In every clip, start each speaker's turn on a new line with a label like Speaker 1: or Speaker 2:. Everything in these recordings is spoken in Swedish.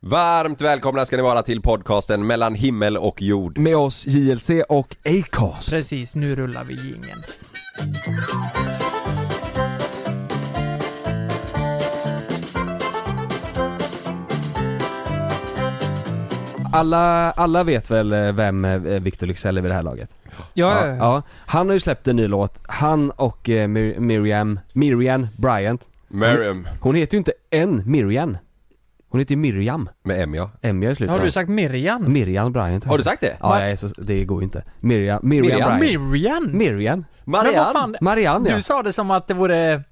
Speaker 1: Varmt välkomna ska ni vara till podcasten mellan himmel och jord.
Speaker 2: Med oss JLC och Acast.
Speaker 3: Precis, nu rullar vi jingeln.
Speaker 2: Alla, alla vet väl eh, vem eh, Victor Lyxell är vid det här laget?
Speaker 3: Ja, ja.
Speaker 2: ja. Han har ju släppt en ny låt, han och eh, Mir- Miriam, Miriam Bryant.
Speaker 1: Miriam.
Speaker 2: Hon heter ju inte en Miriam. Hon heter ju Miriam,
Speaker 1: Med M ja.
Speaker 2: M i slutet.
Speaker 3: Har du sagt Mirjan?
Speaker 2: Miriam Bryant.
Speaker 1: Har du sagt det?
Speaker 2: Ja, nej, så, det går ju inte. Miriam, Miriam,
Speaker 1: Miriam?
Speaker 2: Bryant.
Speaker 3: Mirjan?
Speaker 2: Miriam.
Speaker 3: Men vad
Speaker 1: Marianne.
Speaker 3: fan,
Speaker 2: Marianne
Speaker 3: du
Speaker 2: ja.
Speaker 3: sa det som att det vore ett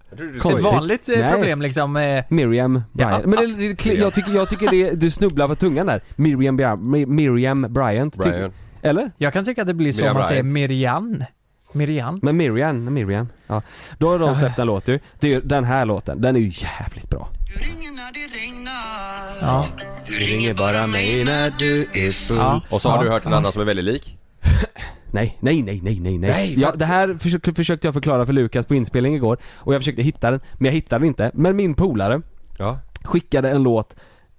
Speaker 2: Konstigt.
Speaker 3: vanligt eh,
Speaker 2: Nej.
Speaker 3: problem liksom. eh,
Speaker 2: Miriam Bryant.
Speaker 3: Ja.
Speaker 2: Men det, det, kli- jag tycker, jag tycker det, du snubblar på tungan där. Miriam, Bryant- Mi- Miriam Bryant. tycker-
Speaker 1: Brian.
Speaker 2: Eller?
Speaker 3: Jag kan tycka att det blir så
Speaker 1: Miriam
Speaker 3: om man säger
Speaker 1: Bryant.
Speaker 3: Mirjan. Mirjan.
Speaker 2: Men Miriam, Miriam. Ja. Då har de släppt en låt ju. Det är ju den här låten, den är ju jävligt bra.
Speaker 4: Du ringer när det regnar.
Speaker 3: Ja.
Speaker 4: Du ringer bara mig när du är full.
Speaker 3: ja.
Speaker 1: Mm. Och så har
Speaker 3: ja.
Speaker 1: du hört en annan som är väldigt lik.
Speaker 2: Nej, nej, nej, nej, nej, nej.
Speaker 1: Nej,
Speaker 2: ja,
Speaker 1: fan.
Speaker 2: det här försökte, försökte jag förklara för Lukas på inspelning igår och jag försökte hitta den, men jag hittade den inte. Men min polare
Speaker 1: Ja.
Speaker 2: skickade en låt,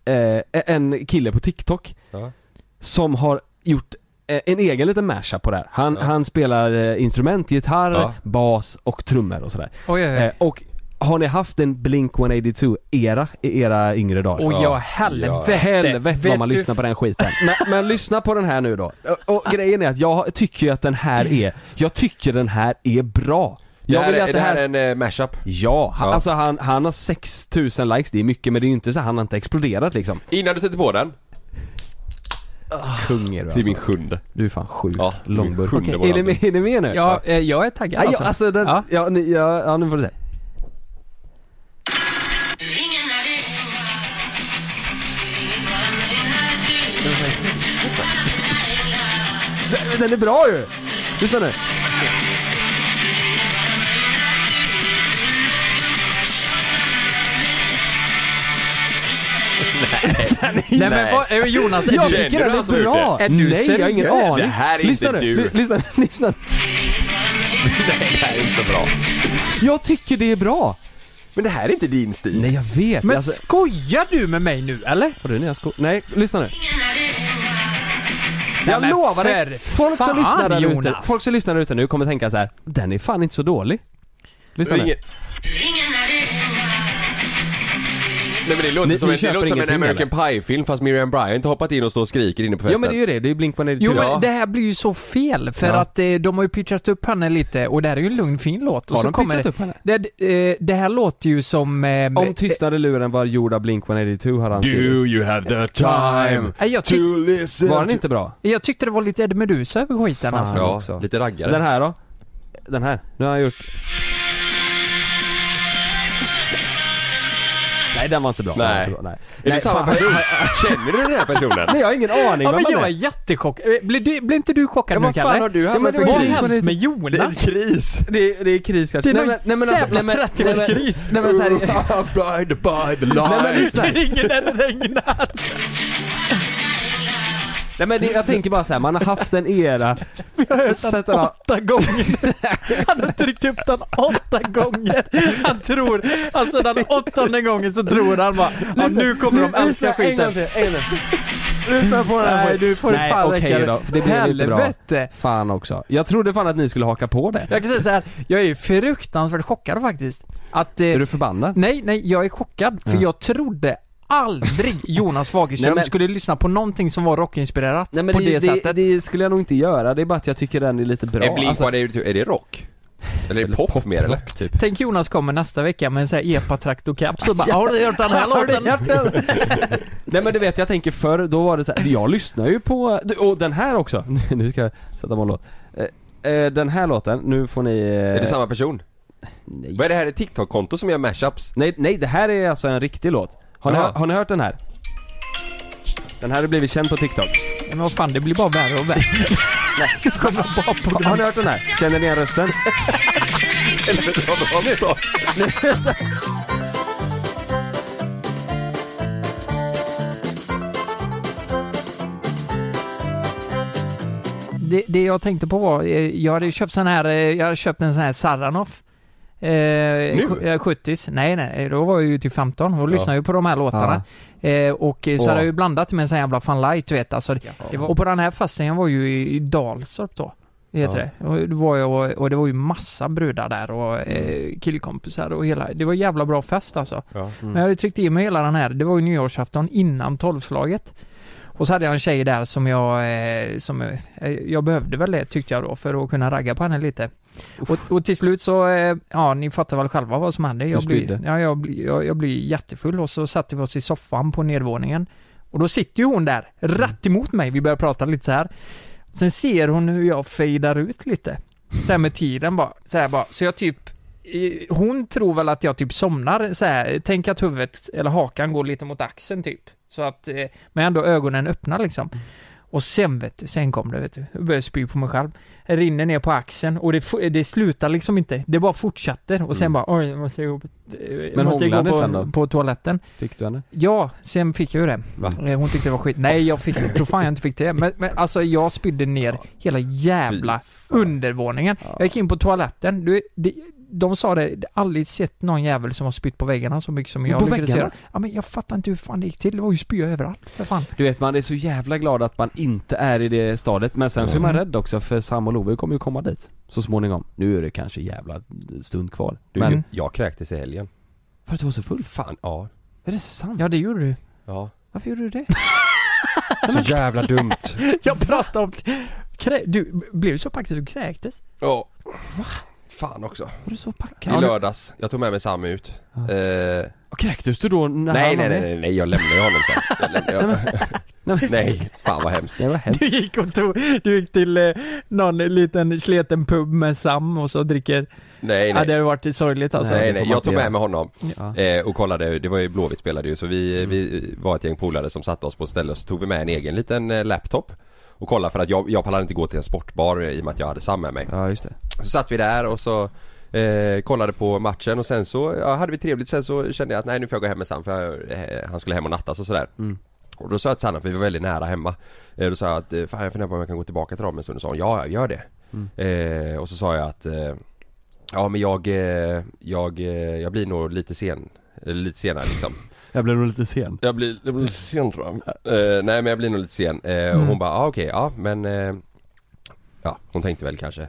Speaker 2: eh, en kille på TikTok
Speaker 1: Ja.
Speaker 2: som har gjort eh, en egen liten mashup på det här. Han, han spelar eh, instrument, gitarr,
Speaker 1: Ja.
Speaker 2: bas och trummor och sådär.
Speaker 3: Oj, oj, oj.
Speaker 2: Eh, och har ni haft en Blink 182-era i era yngre dagar?
Speaker 3: Och
Speaker 1: ja.
Speaker 3: ja, helvete.
Speaker 2: För helvete vad man
Speaker 3: Vet du-
Speaker 2: lyssnar på den skiten. Men, men lyssna på den här nu då. Och, och grejen är att jag tycker ju att den här är, jag tycker den här är bra.
Speaker 1: Det
Speaker 2: Jag
Speaker 1: här,
Speaker 2: vill
Speaker 1: är-
Speaker 2: att
Speaker 1: det här är en eh, mashup.
Speaker 2: Ja, han,
Speaker 1: Ja.
Speaker 2: alltså han, han har 6000 likes, det är mycket men det är ju inte så, han har inte exploderat liksom.
Speaker 1: Innan du sätter på den.
Speaker 2: Kung är du
Speaker 1: Ah. Det är
Speaker 2: alltså.
Speaker 1: min sjunde.
Speaker 2: Du är fan sjuk
Speaker 1: Ja, det är min
Speaker 2: långburk.
Speaker 1: sjunde
Speaker 2: Okej, är, ni med, är ni med nu?
Speaker 3: Ja, eh, jag är taggad
Speaker 2: Ja, alltså den, ja.
Speaker 3: Ja.
Speaker 2: ni, ja, ja nu får du se.
Speaker 4: Du ringer när det regnar. Du ringer bara mig när du är
Speaker 2: Den- Den är bra ju! Lyssna nu.
Speaker 3: Nej men vad, eh, Jonas, är
Speaker 2: Jag
Speaker 3: du,
Speaker 1: Känner
Speaker 2: tycker
Speaker 1: du
Speaker 2: den
Speaker 1: han som
Speaker 2: är
Speaker 1: har
Speaker 2: bra!
Speaker 1: gjort det?
Speaker 3: Är du
Speaker 2: Nej, jag har ingen
Speaker 3: seriös?
Speaker 2: aning.
Speaker 1: Det här är inte
Speaker 2: lyssna
Speaker 1: du.
Speaker 2: nu, ly- lyssna, lyssna.
Speaker 1: Nej, det här är inte bra.
Speaker 2: Jag tycker det är bra!
Speaker 1: Men det här är inte din stil.
Speaker 2: Nej jag vet,
Speaker 3: men
Speaker 2: alltså,
Speaker 3: skojar du med mig nu eller?
Speaker 2: har du nya skor? Nej, lyssna nu.
Speaker 4: när det regnar.
Speaker 2: Jag
Speaker 3: men
Speaker 2: lovar
Speaker 3: för
Speaker 2: dig, folk som
Speaker 3: fan,
Speaker 2: lyssnar där ute,
Speaker 3: Jonas.
Speaker 2: folk som lyssnar där ute nu kommer tänka så här. den är fan inte så dålig.
Speaker 1: det
Speaker 2: Lyssna
Speaker 1: är
Speaker 2: nu.
Speaker 1: ingen-
Speaker 4: Du ringer när det regnar.
Speaker 1: Nej men det låter
Speaker 2: Ni-
Speaker 1: som
Speaker 2: ni
Speaker 1: en, det
Speaker 2: köper
Speaker 1: låter som en
Speaker 2: ingenting,
Speaker 1: American Pie-film fast Miriam Bryant har hoppat in och står och skriker inne på festen.
Speaker 2: Ja men det är ju det, det är ju Blink-182.
Speaker 3: Jo
Speaker 1: Ja.
Speaker 3: men det här blir ju så fel för
Speaker 2: Ja.
Speaker 3: att eh, de har ju pitchat upp henne lite och det här är ju en lugn fin låt. Och
Speaker 2: Har
Speaker 3: så
Speaker 2: de
Speaker 3: kommer
Speaker 2: pitchat
Speaker 3: det,
Speaker 2: upp henne?
Speaker 3: Det, eh, det här låter ju som... Eh,
Speaker 2: Om tystnad i luren var gjord av Blink-182 har han skrivit.
Speaker 1: Do you have the time
Speaker 3: Nej, jag tyck-
Speaker 1: to listen
Speaker 2: Var den
Speaker 1: to-
Speaker 2: inte bra?
Speaker 3: jag tyckte det var lite Eddie Meduza över skiten
Speaker 2: Fan.
Speaker 3: alltså.
Speaker 2: Ja,
Speaker 1: Ja,
Speaker 2: också.
Speaker 1: lite raggare.
Speaker 2: Den här då? Den här, nu har han gjort... Nej den var inte bra. Den var
Speaker 1: Nej.
Speaker 2: inte bra. Nej.
Speaker 1: Är
Speaker 2: Nej,
Speaker 1: det samma
Speaker 2: fan.
Speaker 1: person? Känner du den här personen?
Speaker 2: Nej jag har ingen aning
Speaker 3: Ja men
Speaker 2: vem
Speaker 3: jag är
Speaker 2: han är.
Speaker 3: jättechockad. Eh, Blir, du- blir inte du chockad
Speaker 1: Ja,
Speaker 3: nu
Speaker 1: vad
Speaker 3: Kalle?
Speaker 1: fan har du
Speaker 2: Ja, men
Speaker 1: hamnat
Speaker 2: det
Speaker 1: för
Speaker 2: var
Speaker 3: Vad har
Speaker 2: ju-
Speaker 1: kris?
Speaker 3: hänt med
Speaker 1: Det är
Speaker 3: Jonas?
Speaker 1: kris!
Speaker 2: Det, är- det är kris kanske.
Speaker 3: Det är någon jävla
Speaker 2: nej, men-
Speaker 3: 30-årskris.
Speaker 2: Nej men, nej, men, så här,
Speaker 1: Blinded by the
Speaker 2: Nej, men
Speaker 1: light
Speaker 2: lyssna.
Speaker 3: Det ringer när det regnar.
Speaker 2: nej men det, jag tänker bara så här, man har haft en era. Vi har hört att
Speaker 3: Åtta gånger. Han har tryckt upp den åtta gånger. Han tror, alltså den åttonde gången så tror han bara, ja, nu kommer de älska skiten.
Speaker 2: Lyssna på den
Speaker 3: Nej du får
Speaker 2: Nej,
Speaker 3: fan
Speaker 2: okej
Speaker 3: räcka
Speaker 2: då, för det blev inte bra.
Speaker 3: Helvete.
Speaker 2: Fan också. Jag trodde fan att ni skulle haka på det.
Speaker 3: Jag kan säga så här, jag är fruktansvärt chockad faktiskt. Att, eh,
Speaker 2: Är du förbannad?
Speaker 3: nej, nej, jag är chockad för
Speaker 2: Ja.
Speaker 3: jag trodde aldrig Jonas Fagerström
Speaker 2: Nej, men-
Speaker 3: skulle lyssna på någonting som var rockinspirerat på det, sättet.
Speaker 2: det skulle jag nog inte göra, det är bara att jag tycker den är lite bra.
Speaker 1: Är Blink alltså, är det rock? Eller är det pop, mer eller? Typ.
Speaker 3: Tänk Jonas kommer nästa vecka med en sån här epa-traktorkaps och bara Har du hört den här låten?
Speaker 2: Nej men du vet, jag tänker förr, då var det så här, jag lyssnar ju på, du, och den här också. nu ska jag sätta på en låt. Eh, eh, Den här låten, nu får ni... eh,
Speaker 1: Är det samma person?
Speaker 2: Nej.
Speaker 1: Vad är det här? Ett TikTok-konto som gör mashups?
Speaker 2: Nej, nej, det här är alltså en riktig låt. Har ni,
Speaker 1: Jaha.
Speaker 2: har ni hört den här? Den här har blivit känd på TikTok.
Speaker 3: Men vad fan, det blir bara värre och värre. Kommer bara på
Speaker 2: Har, har ni hört den här? Känner ni igen rösten?
Speaker 3: det, det jag tänkte på var, eh, jag hade ju köpt sån här, eh, jag hade köpt en sån här Saranoff Eh, nu? 70s. Nej, nej, då var jag ju typ 15 och lyssnade ju på de här låtarna. Eh, och eh, så
Speaker 2: Åh.
Speaker 3: hade jag ju blandat med en sån jävla Fun Light, du vet alltså.
Speaker 2: Det
Speaker 3: Och på den här festen, jag var ju i, i Dalstorp då. Det heter det. Och, det var jag, och, och det var ju massa brudar där och eh, killkompisar och hela, det var en jävla bra fest alltså.
Speaker 1: Ja.
Speaker 2: Mm.
Speaker 3: Men jag hade tryckt i mig hela den här, det var ju nyårsafton innan tolvslaget. Och så hade jag en tjej där som jag, eh, som eh, jag behövde väl det tyckte jag då för att kunna ragga på henne lite. Och, och till slut så, eh, ja ni fattar väl själva vad som hände. Jag
Speaker 2: Du
Speaker 3: blir,
Speaker 2: spydde.
Speaker 3: ja, jag, blir- jag, jag blir jättefull och så satte vi oss i soffan på nedervåningen. Och då sitter ju hon där,
Speaker 2: Mm.
Speaker 3: rätt emot mig. Vi börjar prata lite så här. Sen ser hon hur jag fejdar ut lite. Så här med tiden bara. Så här bara. Så jag typ eh, hon tror väl att jag typ somnar så här. Tänk att huvudet eller hakan går lite mot axeln typ. Så att, eh, men ändå ögonen öppna liksom. Och sen vet du, sen kom det vet du. Jag började spy på mig själv. Jag rinner ner på axeln och det, fo- det slutar liksom inte. Det bara fortsätter och sen
Speaker 2: Mm.
Speaker 3: bara oj, jag måste gå på, eh,
Speaker 2: Men
Speaker 3: måste gå
Speaker 2: hånglade sen
Speaker 3: på,
Speaker 2: då?
Speaker 3: på toaletten.
Speaker 2: Fick du henne?
Speaker 3: Ja, sen fick jag ju det.
Speaker 2: Va?
Speaker 3: Eh, Hon tyckte det var skit. Nej, jag fick, tror fan jag inte fick det. Men, men alltså jag spydde ner hela jävla undervåningen.
Speaker 2: Ja.
Speaker 3: Jag gick in på toaletten. Du, de, de sa det, de har aldrig sett någon jävel som har spytt på väggarna så mycket som
Speaker 2: Men
Speaker 3: jag
Speaker 2: på
Speaker 3: lyckades
Speaker 2: väggarna?
Speaker 3: göra. Ja men jag fattar inte hur fan det gick till. Det var ju spya överallt. För fan.
Speaker 2: Du vet man är så jävla glad att man inte är i det stadiet men sen så är man
Speaker 3: Mm.
Speaker 2: rädd också för Sam och Love kommer ju komma dit så småningom. Nu är det kanske jävla stund kvar.
Speaker 1: Du, Mm.
Speaker 2: men...
Speaker 1: jag- jag kräktes i helgen.
Speaker 2: För att du var så full? Fan.
Speaker 1: Fan, ja.
Speaker 2: Är det sant?
Speaker 3: Ja det gjorde du.
Speaker 1: ja.
Speaker 2: Varför gjorde du det?
Speaker 1: Så jävla dumt.
Speaker 3: Jag pratade om... Krä, du blev ju så packad att du kräktes.
Speaker 1: Ja. Fan också.
Speaker 2: Var du så packad?
Speaker 1: I lördags, jag tog med mig Sam ut.
Speaker 2: Ja.
Speaker 1: Eh,
Speaker 2: Och kräktes du då när
Speaker 1: nej, nej,
Speaker 2: han var
Speaker 1: nej,
Speaker 2: med?
Speaker 1: nej, nej, jag lämnade ju honom sen. Jag lämnade,
Speaker 2: Nej,
Speaker 1: jag, nej, fan vad hemskt.
Speaker 2: Det var hemskt.
Speaker 3: Du gick och tog, du gick till eh, någon liten sleten pub med Sam och så dricker.
Speaker 1: Nej,
Speaker 3: Ja, det
Speaker 1: nej.
Speaker 3: hade varit sorgligt alltså.
Speaker 1: Nej,
Speaker 2: det får
Speaker 1: nej,
Speaker 2: man
Speaker 1: jag
Speaker 2: inte
Speaker 1: tog
Speaker 2: göra.
Speaker 1: med mig honom
Speaker 2: Ja.
Speaker 1: eh, och kollade, det var ju Blåvitt spelade ju så vi, vi var ett gäng polare som satte oss på ett ställe och så tog vi med en egen liten eh, laptop och kollade för att jag, jag pallade inte gå till en sportbar eh, i och med att jag hade Sam med mig.
Speaker 2: ja, just det.
Speaker 1: Så satt vi där och så eh, kollade på matchen och sen så ja, hade vi trevligt sen så kände jag att nej nu får jag gå hem med Sam för jag, eh, han skulle hem och nattas och sådär. Och då sa jag till Sanna, för vi var väldigt nära hemma eh, Då sa jag att eh, fan jag funderar på om jag kan gå tillbaka till dem en stund och sa hon, ja gör det eh, Och så sa jag att eh, Ja men jag, eh, jag, eh, jag blir nog lite sen eller lite senare liksom
Speaker 2: Jag blev nog lite sen.
Speaker 1: Jag blir, jag blir lite sen tror jag eh, Nej men jag blir nog lite sen eh, Och
Speaker 3: Mm.
Speaker 1: hon bara, ah, okej, ja men eh, Ja hon tänkte väl kanske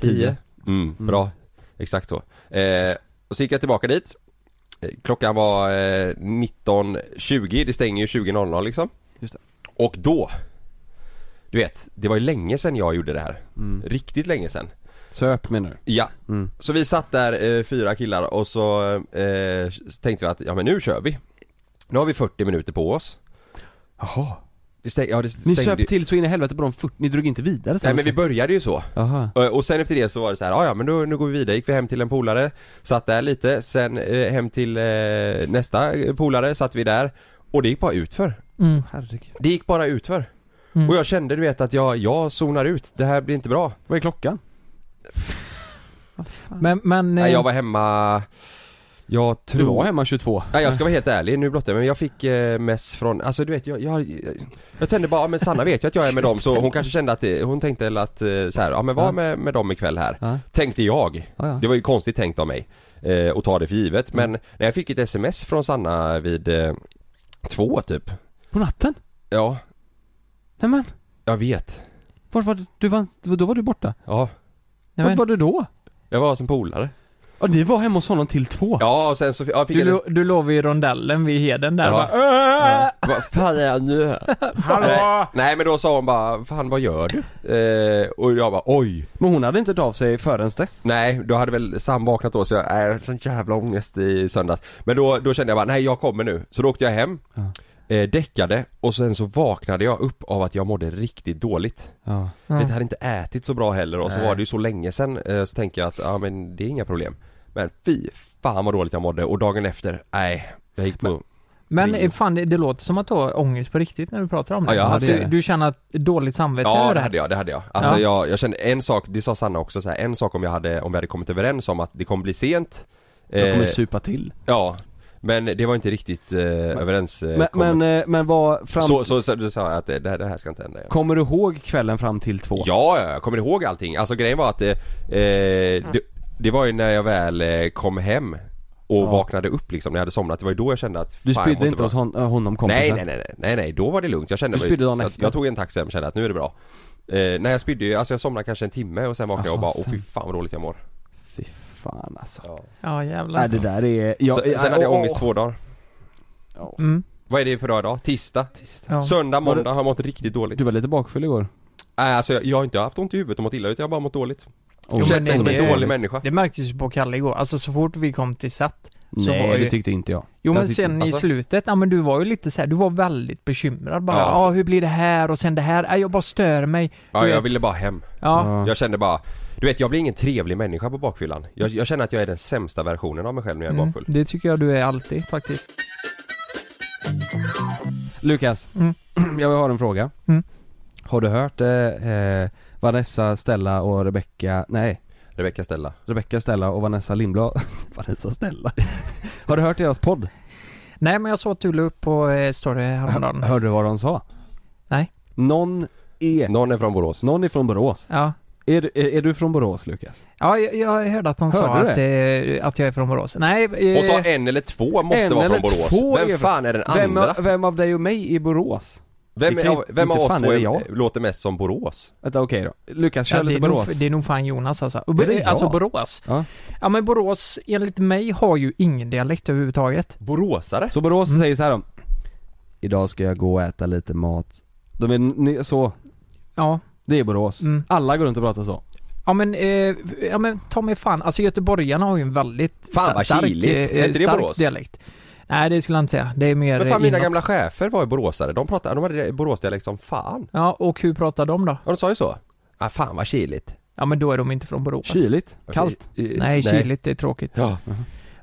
Speaker 2: Tio.
Speaker 1: Mm, bra. Exakt så. Eh, och så gick jag tillbaka dit. Eh, Klockan var eh, 19.20, det stänger ju 20.00 liksom.
Speaker 2: Just det.
Speaker 1: Och då, du vet, det var ju länge sedan jag gjorde det här.
Speaker 2: Mm.
Speaker 1: Riktigt länge sedan.
Speaker 2: Söp menar du?
Speaker 1: Ja,
Speaker 2: Mm.
Speaker 1: så vi satt där eh, fyra killar och så eh, tänkte vi att ja men nu kör vi. Nu har vi 40 minuter på oss.
Speaker 2: Jaha.
Speaker 1: Det stäng, ja, det stängde,
Speaker 2: Ni söp till så in i helvete på de 40, ni drog inte vidare sen?
Speaker 1: Nej men vi började ju så.
Speaker 2: Jaha.
Speaker 1: Eh, Och sen efter det så var det så här, "Ah, ja men då, nu går vi vidare, gick vi hem till en polare Satt där lite, sen eh, hem till eh, nästa eh, polare, satt vi där Och det gick bara utför
Speaker 3: Mm,
Speaker 2: Herregud.
Speaker 1: Det gick bara utför
Speaker 3: mm.
Speaker 1: Och jag kände du vet att jag, jag zonar ut, det här blir inte bra
Speaker 2: Vad är klockan? Vad fan?
Speaker 3: Men, men...
Speaker 1: Nej,
Speaker 3: eh,
Speaker 1: Jag var hemma Jag
Speaker 2: du var
Speaker 1: tror...
Speaker 2: hemma 22?
Speaker 1: Nej, jag ska vara helt ärlig, nu blottar jag mig, men jag fick eh, mess från, alltså du vet jag, jag, jag tände bara, "Ah, men Sanna vet ju att jag är med dem så hon kanske kände att, det, hon tänkte väl att eh, så här, ja men var
Speaker 2: Ja.
Speaker 1: med, med dem ikväll här
Speaker 2: Ja.
Speaker 1: Tänkte jag
Speaker 2: Ja, ja.
Speaker 1: Det var ju konstigt tänkt av mig eh, att ta det för givet men när jag fick ett sms från Sanna vid eh, två typ
Speaker 2: På natten?
Speaker 1: Ja,
Speaker 2: Nej men,
Speaker 1: jag vet.
Speaker 2: var var du? du var, då var du borta?
Speaker 1: Ja,
Speaker 3: nej, men-
Speaker 2: Var var du då?
Speaker 1: jag var hos en polare.
Speaker 2: Ja, ni var hemma hos honom till två?
Speaker 1: Ja och sen så ja, fick
Speaker 3: Du,
Speaker 1: jag
Speaker 3: lo- du låg vid rondellen vid Heden där
Speaker 1: Ja.
Speaker 3: va? Äh,
Speaker 1: Vad fan är jag nu? Nej, nej men då sa hon bara, fan vad gör du? Eh, och jag bara oj.
Speaker 2: Men hon hade inte hört av sig förrän dess?
Speaker 1: Nej, då hade väl Sam vaknat då så jag, är sån jävla ångest i söndags. Men då, då kände jag bara, nej jag kommer nu. Så då åkte jag hem,
Speaker 2: Ja.
Speaker 1: eh, däckade och sen så vaknade jag upp av att jag mådde riktigt dåligt.
Speaker 2: Ja.
Speaker 1: Vet, jag hade inte ätit så bra heller och så
Speaker 2: Nej.
Speaker 1: var det ju så länge sen eh, så tänker jag att ja men det är inga problem. Men fy fan vad dåligt jag mådde och dagen efter, nej. Jag gick på,
Speaker 3: Men eh, fan, det, det låter som att du har ångest på riktigt när du pratar om det.
Speaker 1: Ja, jag hade
Speaker 3: du,
Speaker 2: det.
Speaker 3: du känner att dåligt samvete
Speaker 1: ja
Speaker 3: över
Speaker 1: det
Speaker 3: det
Speaker 1: hade jag, det hade jag. Alltså
Speaker 3: Ja.
Speaker 1: jag, jag kände en sak, det sa Sanna också så här, en sak om jag hade, om vi hade kommit överens om att det kommer bli sent.
Speaker 2: Jag kommer
Speaker 1: Eh,
Speaker 2: supa till.
Speaker 1: ja, men det var inte riktigt eh, överens. Eh,
Speaker 2: Men,
Speaker 1: kommet.
Speaker 2: men, eh, men vad, fram...
Speaker 1: så, så, så, du sa jag att eh, det, det här ska inte hända. Ja.
Speaker 2: Kommer du ihåg kvällen fram till två?
Speaker 1: Ja, ja, jag kommer ihåg allting. Alltså grejen var att eh, eh, det, Det var ju när jag väl eh, kom hem och
Speaker 2: Ja.
Speaker 1: vaknade upp liksom när jag hade somnat. Det var ju då jag kände att
Speaker 2: Du
Speaker 1: fan, jag
Speaker 2: spydde
Speaker 1: mår
Speaker 2: inte
Speaker 1: bra.
Speaker 2: hos hon, äh, honom kompisen?
Speaker 1: Nej, nej, nej, nej, nej, nej, då var det lugnt. Jag kände
Speaker 2: Du
Speaker 1: mig,
Speaker 2: spydde dagen
Speaker 1: så att
Speaker 2: efter?
Speaker 1: jag tog en taxi hem och kände att nu är det bra. Eh, nej jag spydde ju, alltså jag somnade kanske en timme och sen vaknade jag och
Speaker 2: Jaha,
Speaker 1: bara
Speaker 2: sen.
Speaker 1: åh fy fan vad dåligt jag mår.
Speaker 2: Fy fan alltså.
Speaker 3: Ja
Speaker 2: Nej
Speaker 3: jävlar.
Speaker 2: det där är... Jag,
Speaker 1: sen, sen hade jag
Speaker 2: åh,
Speaker 1: ångest
Speaker 2: åh.
Speaker 1: två dagar.
Speaker 3: Mm.
Speaker 1: Vad är det för dag idag? Tisdag?
Speaker 3: Ja.
Speaker 1: Söndag,
Speaker 2: Var det-
Speaker 1: måndag har jag mått riktigt dåligt.
Speaker 2: Du var lite bakfull igår.
Speaker 1: Nej alltså jag, jag har inte haft ont i huvudet och mått illa utan jag har bara mått dåligt.
Speaker 3: Jo,
Speaker 1: Jag
Speaker 3: men
Speaker 1: Känt mig som
Speaker 3: det-
Speaker 1: en dålig människa.
Speaker 3: Det märktes ju på Kalle igår. Alltså så fort vi kom till SAT. så var
Speaker 2: Nej
Speaker 3: ju-
Speaker 2: det tyckte inte jag.
Speaker 3: Jo
Speaker 2: Jag
Speaker 3: men
Speaker 2: tyckte-
Speaker 3: sen i
Speaker 1: alltså.
Speaker 3: slutet, ja men du var ju lite så här, du var väldigt bekymrad bara. Ja,
Speaker 1: Ja.
Speaker 3: hur blir det här och sen det här? Ja, jag bara stör mig.
Speaker 1: Ja,
Speaker 3: du
Speaker 1: jag
Speaker 3: vet.
Speaker 1: ville bara hem.
Speaker 3: Ja.
Speaker 2: Ja.
Speaker 1: Jag kände bara, du vet jag blir ingen trevlig människa på bakfyllan. Jag, jag känner att jag är den sämsta versionen av mig själv när jag är
Speaker 3: Mm.
Speaker 1: bakfull.
Speaker 3: Det tycker jag du är alltid faktiskt.
Speaker 2: Lukas,
Speaker 3: Mm.
Speaker 2: jag har en fråga.
Speaker 3: Mm.
Speaker 2: Har du hört eh, eh, Vanessa, Stella och Rebecca, nej,
Speaker 1: Rebecka Stella.
Speaker 2: Rebecca, Stella och Vanessa Lindblad. Vanessa Stella. har du hört deras podd?
Speaker 3: Nej men jag såg att du la upp på eh, story häromdagen.
Speaker 2: Hörde du vad de sa?
Speaker 3: Nej.
Speaker 2: Någon är,
Speaker 1: Någon är från Borås.
Speaker 2: någon är från Borås.
Speaker 3: Ja.
Speaker 2: Är, du- är, är du från Borås Lukas?
Speaker 3: Ja, jag, jag hörde att de sa
Speaker 2: Hörde du
Speaker 3: att, eh, att jag är från Borås. Nej, eh,
Speaker 1: Hon sa en eller två måste
Speaker 2: E. en
Speaker 1: vara
Speaker 2: eller
Speaker 1: från Borås.
Speaker 2: två är-
Speaker 1: Vem fan är den
Speaker 2: Vem,
Speaker 1: andra?
Speaker 2: av- vem av dig och mig är Borås?
Speaker 1: Vem,
Speaker 2: Det kan ju-
Speaker 1: av- vem av
Speaker 2: inte
Speaker 1: oss
Speaker 2: fan
Speaker 1: två
Speaker 2: är
Speaker 1: är,
Speaker 2: det jag.
Speaker 1: låter mest som Borås?
Speaker 2: Vänta okej då. Lukas, kör
Speaker 3: ja, det,
Speaker 2: lite
Speaker 3: är nog,
Speaker 2: Borås.
Speaker 3: det är nog fan Jonas alltså.
Speaker 2: Är det jag?
Speaker 3: Alltså Borås.
Speaker 2: Ja.
Speaker 3: Ja men Borås, enligt mig, har ju ingen dialekt överhuvudtaget.
Speaker 1: Boråsare?
Speaker 2: Så Borås
Speaker 3: Mm.
Speaker 2: säger så här om Idag ska jag gå och äta lite mat. De är ni- så,
Speaker 3: Ja.
Speaker 2: det är Borås.
Speaker 3: Mm.
Speaker 2: Alla går runt och pratar så.
Speaker 3: Ja men, eh, ja men ta mig fan, alltså göteborgarna har ju en väldigt
Speaker 1: Fan,
Speaker 3: sta-
Speaker 1: vad
Speaker 3: stark,
Speaker 1: kyligt. Är
Speaker 3: eh,
Speaker 1: inte det
Speaker 3: stark
Speaker 1: Borås?
Speaker 3: dialekt. Nej det skulle jag inte säga, det är mer
Speaker 1: Men fan
Speaker 3: eh,
Speaker 1: mina
Speaker 3: inåt.
Speaker 1: gamla chefer var ju boråsare. De pratade, de hade Boråsdialekt som fan.
Speaker 3: Ja och hur pratar de då?
Speaker 1: Ja de sa ju så. Ah, fan vad kyligt.
Speaker 3: Ja men då är de inte från Borås.
Speaker 2: Kyligt, kallt. Eh,
Speaker 1: I- i-
Speaker 3: Nej, kyligt, det är tråkigt.
Speaker 1: Ja.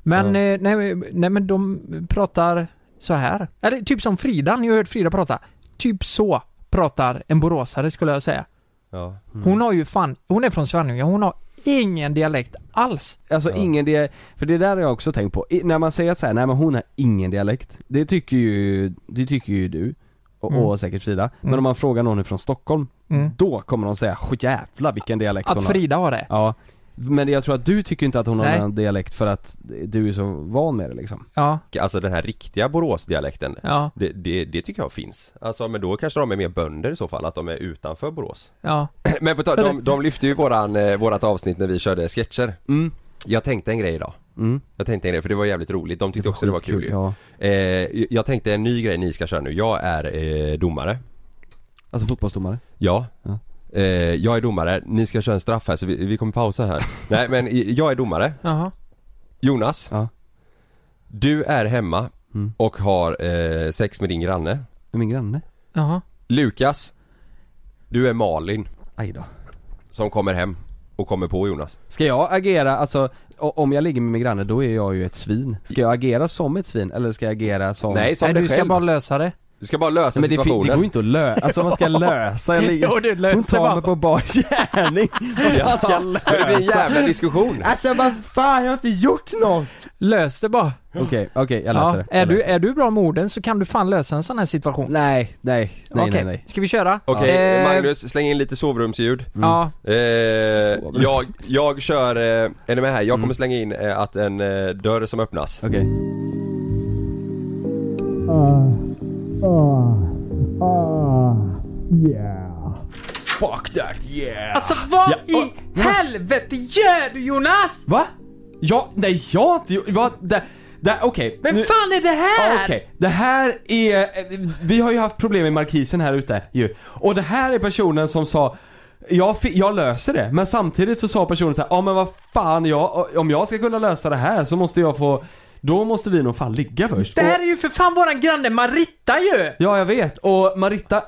Speaker 3: Men, eh, nej, nej men de pratar så här. Eller typ som Frida, ni har hört Frida prata. Typ så pratar en boråsare skulle jag säga.
Speaker 1: ja.
Speaker 2: Mm.
Speaker 3: Hon har ju fan, hon är från Svenljunga, hon har ingen dialekt alls.
Speaker 2: Alltså
Speaker 1: Ja.
Speaker 2: ingen dialekt, för det där har jag också tänkt på. I, när man säger att så här, nej men hon har ingen dialekt. Det tycker ju, det tycker ju du. Och,
Speaker 3: Mm.
Speaker 2: och säkert Frida. Men
Speaker 3: Mm.
Speaker 2: om man frågar någon från Stockholm,
Speaker 3: Mm.
Speaker 2: då kommer de säga "Åh, jävlar vilken dialekt hon
Speaker 3: Att
Speaker 2: har.
Speaker 3: Frida har det.
Speaker 2: Ja. Men jag tror att du tycker inte att hon
Speaker 3: Nej.
Speaker 2: har en dialekt för att du är så van med det liksom.
Speaker 3: Ja,
Speaker 1: Alltså den här riktiga Boråsdialekten.
Speaker 3: ja,
Speaker 1: Det, det, det tycker jag finns. Alltså men då kanske de är mer bönder i så fall, att de är utanför Borås.
Speaker 3: ja.
Speaker 1: Men på tal, de, de lyfte ju våran, eh, vårat avsnitt när vi körde sketcher.
Speaker 2: Mm.
Speaker 1: Jag tänkte en grej idag.
Speaker 2: Mm.
Speaker 1: Jag tänkte en grej, för det var jävligt roligt. De tyckte också det var kul ju.
Speaker 2: Ja.
Speaker 1: Eh, jag tänkte en ny grej ni ska köra nu. Jag är eh, domare.
Speaker 2: Alltså fotbollsdomare.
Speaker 1: Ja.
Speaker 2: Ja.
Speaker 1: Eh, jag är domare. Ni ska köra en straff här så vi, vi kommer pausa här. Nej men i- jag är domare.
Speaker 3: Jaha.
Speaker 1: Jonas.
Speaker 2: Ja.
Speaker 1: Du är hemma
Speaker 2: Mm.
Speaker 1: och har eh, sex med din granne.
Speaker 2: Min granne.
Speaker 3: Jaha.
Speaker 1: Lukas. Du är Malin
Speaker 2: Aj då.
Speaker 1: som kommer hem och kommer på Jonas.
Speaker 2: Ska jag agera, alltså o- om jag ligger med min granne då är jag ju ett svin. Ska jag agera som ett svin eller ska jag agera som...
Speaker 1: Nej som
Speaker 3: Nej,
Speaker 1: dig
Speaker 3: du ska
Speaker 1: själv.
Speaker 3: bara lösa det.
Speaker 1: Du ska bara lösa
Speaker 2: Men det, fin-
Speaker 1: situationen.
Speaker 2: det går ju inte att lösa, alltså man ska lösa, jag ligger...
Speaker 3: det
Speaker 2: Hon tar mig på bar gärning. Vad fan ska jag
Speaker 1: Det blir en
Speaker 2: lösa?
Speaker 1: jävla diskussion.
Speaker 2: Alltså vad fan, jag har inte gjort något!
Speaker 3: Lös det bara.
Speaker 2: Okej, okej jag
Speaker 3: Ja,
Speaker 2: löser det.
Speaker 3: är,
Speaker 2: Jag
Speaker 3: du,
Speaker 2: löser det.
Speaker 3: är du bra med orden så kan du fan lösa en sån här situation.
Speaker 2: Nej, nej, nej, nej,
Speaker 3: Okej,
Speaker 2: nej.
Speaker 3: ska vi köra?
Speaker 1: Okej,
Speaker 2: äh.
Speaker 3: Eh,
Speaker 1: Magnus släng in lite sovrumsljud.
Speaker 2: Mm.
Speaker 3: Ja,
Speaker 1: Eh,
Speaker 2: Sovrums.
Speaker 1: jag, jag kör, eh, är ni med här? Jag
Speaker 2: Mm.
Speaker 1: kommer slänga in eh, att en eh, dörr som öppnas.
Speaker 2: Okej. Fuck that yeah!
Speaker 3: Alltså vad
Speaker 2: Ja,
Speaker 3: i helvete gör du Jonas?
Speaker 2: Va? Ja, nej jag har inte gjort- vad, det, det, okej.
Speaker 3: Vem
Speaker 2: nu-
Speaker 3: fan är det
Speaker 2: Ja,
Speaker 3: här?
Speaker 2: Ah, Okej, det här är, vi har ju haft problem med markisen här ute ju. Och det här är personen som sa jag, fi- jag löser det, men samtidigt så sa personen så här, ja men vad fan jag, om jag ska kunna lösa det här så måste jag få, då måste vi nog fan ligga först.
Speaker 3: Det här
Speaker 2: och,
Speaker 3: är ju för fan våran granne Marita ju!
Speaker 2: Ja jag vet, och Marita,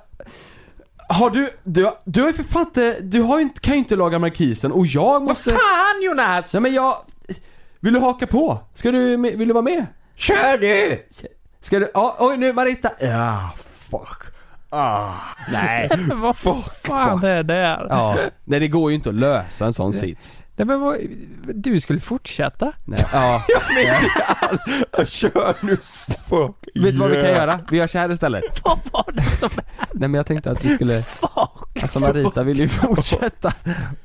Speaker 2: har du, du, du har ju för fan inte, du har ju inte, kan ju inte laga markisen och jag
Speaker 3: Vad
Speaker 2: måste...
Speaker 3: fan Jonas!
Speaker 2: Nej men jag, vill du haka på? Ska du, vill du vara med?
Speaker 1: Kör du!
Speaker 2: Ska du, ja, oj nu Marita! Ja, fuck.
Speaker 3: Nej, vad fan är det här?
Speaker 2: Ja, nej det går ju inte att lösa en sån sits.
Speaker 3: Nej men vad, du skulle fortsätta?
Speaker 2: Nej. Ja.
Speaker 1: Kör nu! Fuck.
Speaker 2: Vet du vad vi kan göra? Vi gör så här istället.
Speaker 3: Vad var det som
Speaker 2: Nej men jag tänkte att vi skulle...
Speaker 3: fuck?
Speaker 2: Alltså Marita ville ju fortsätta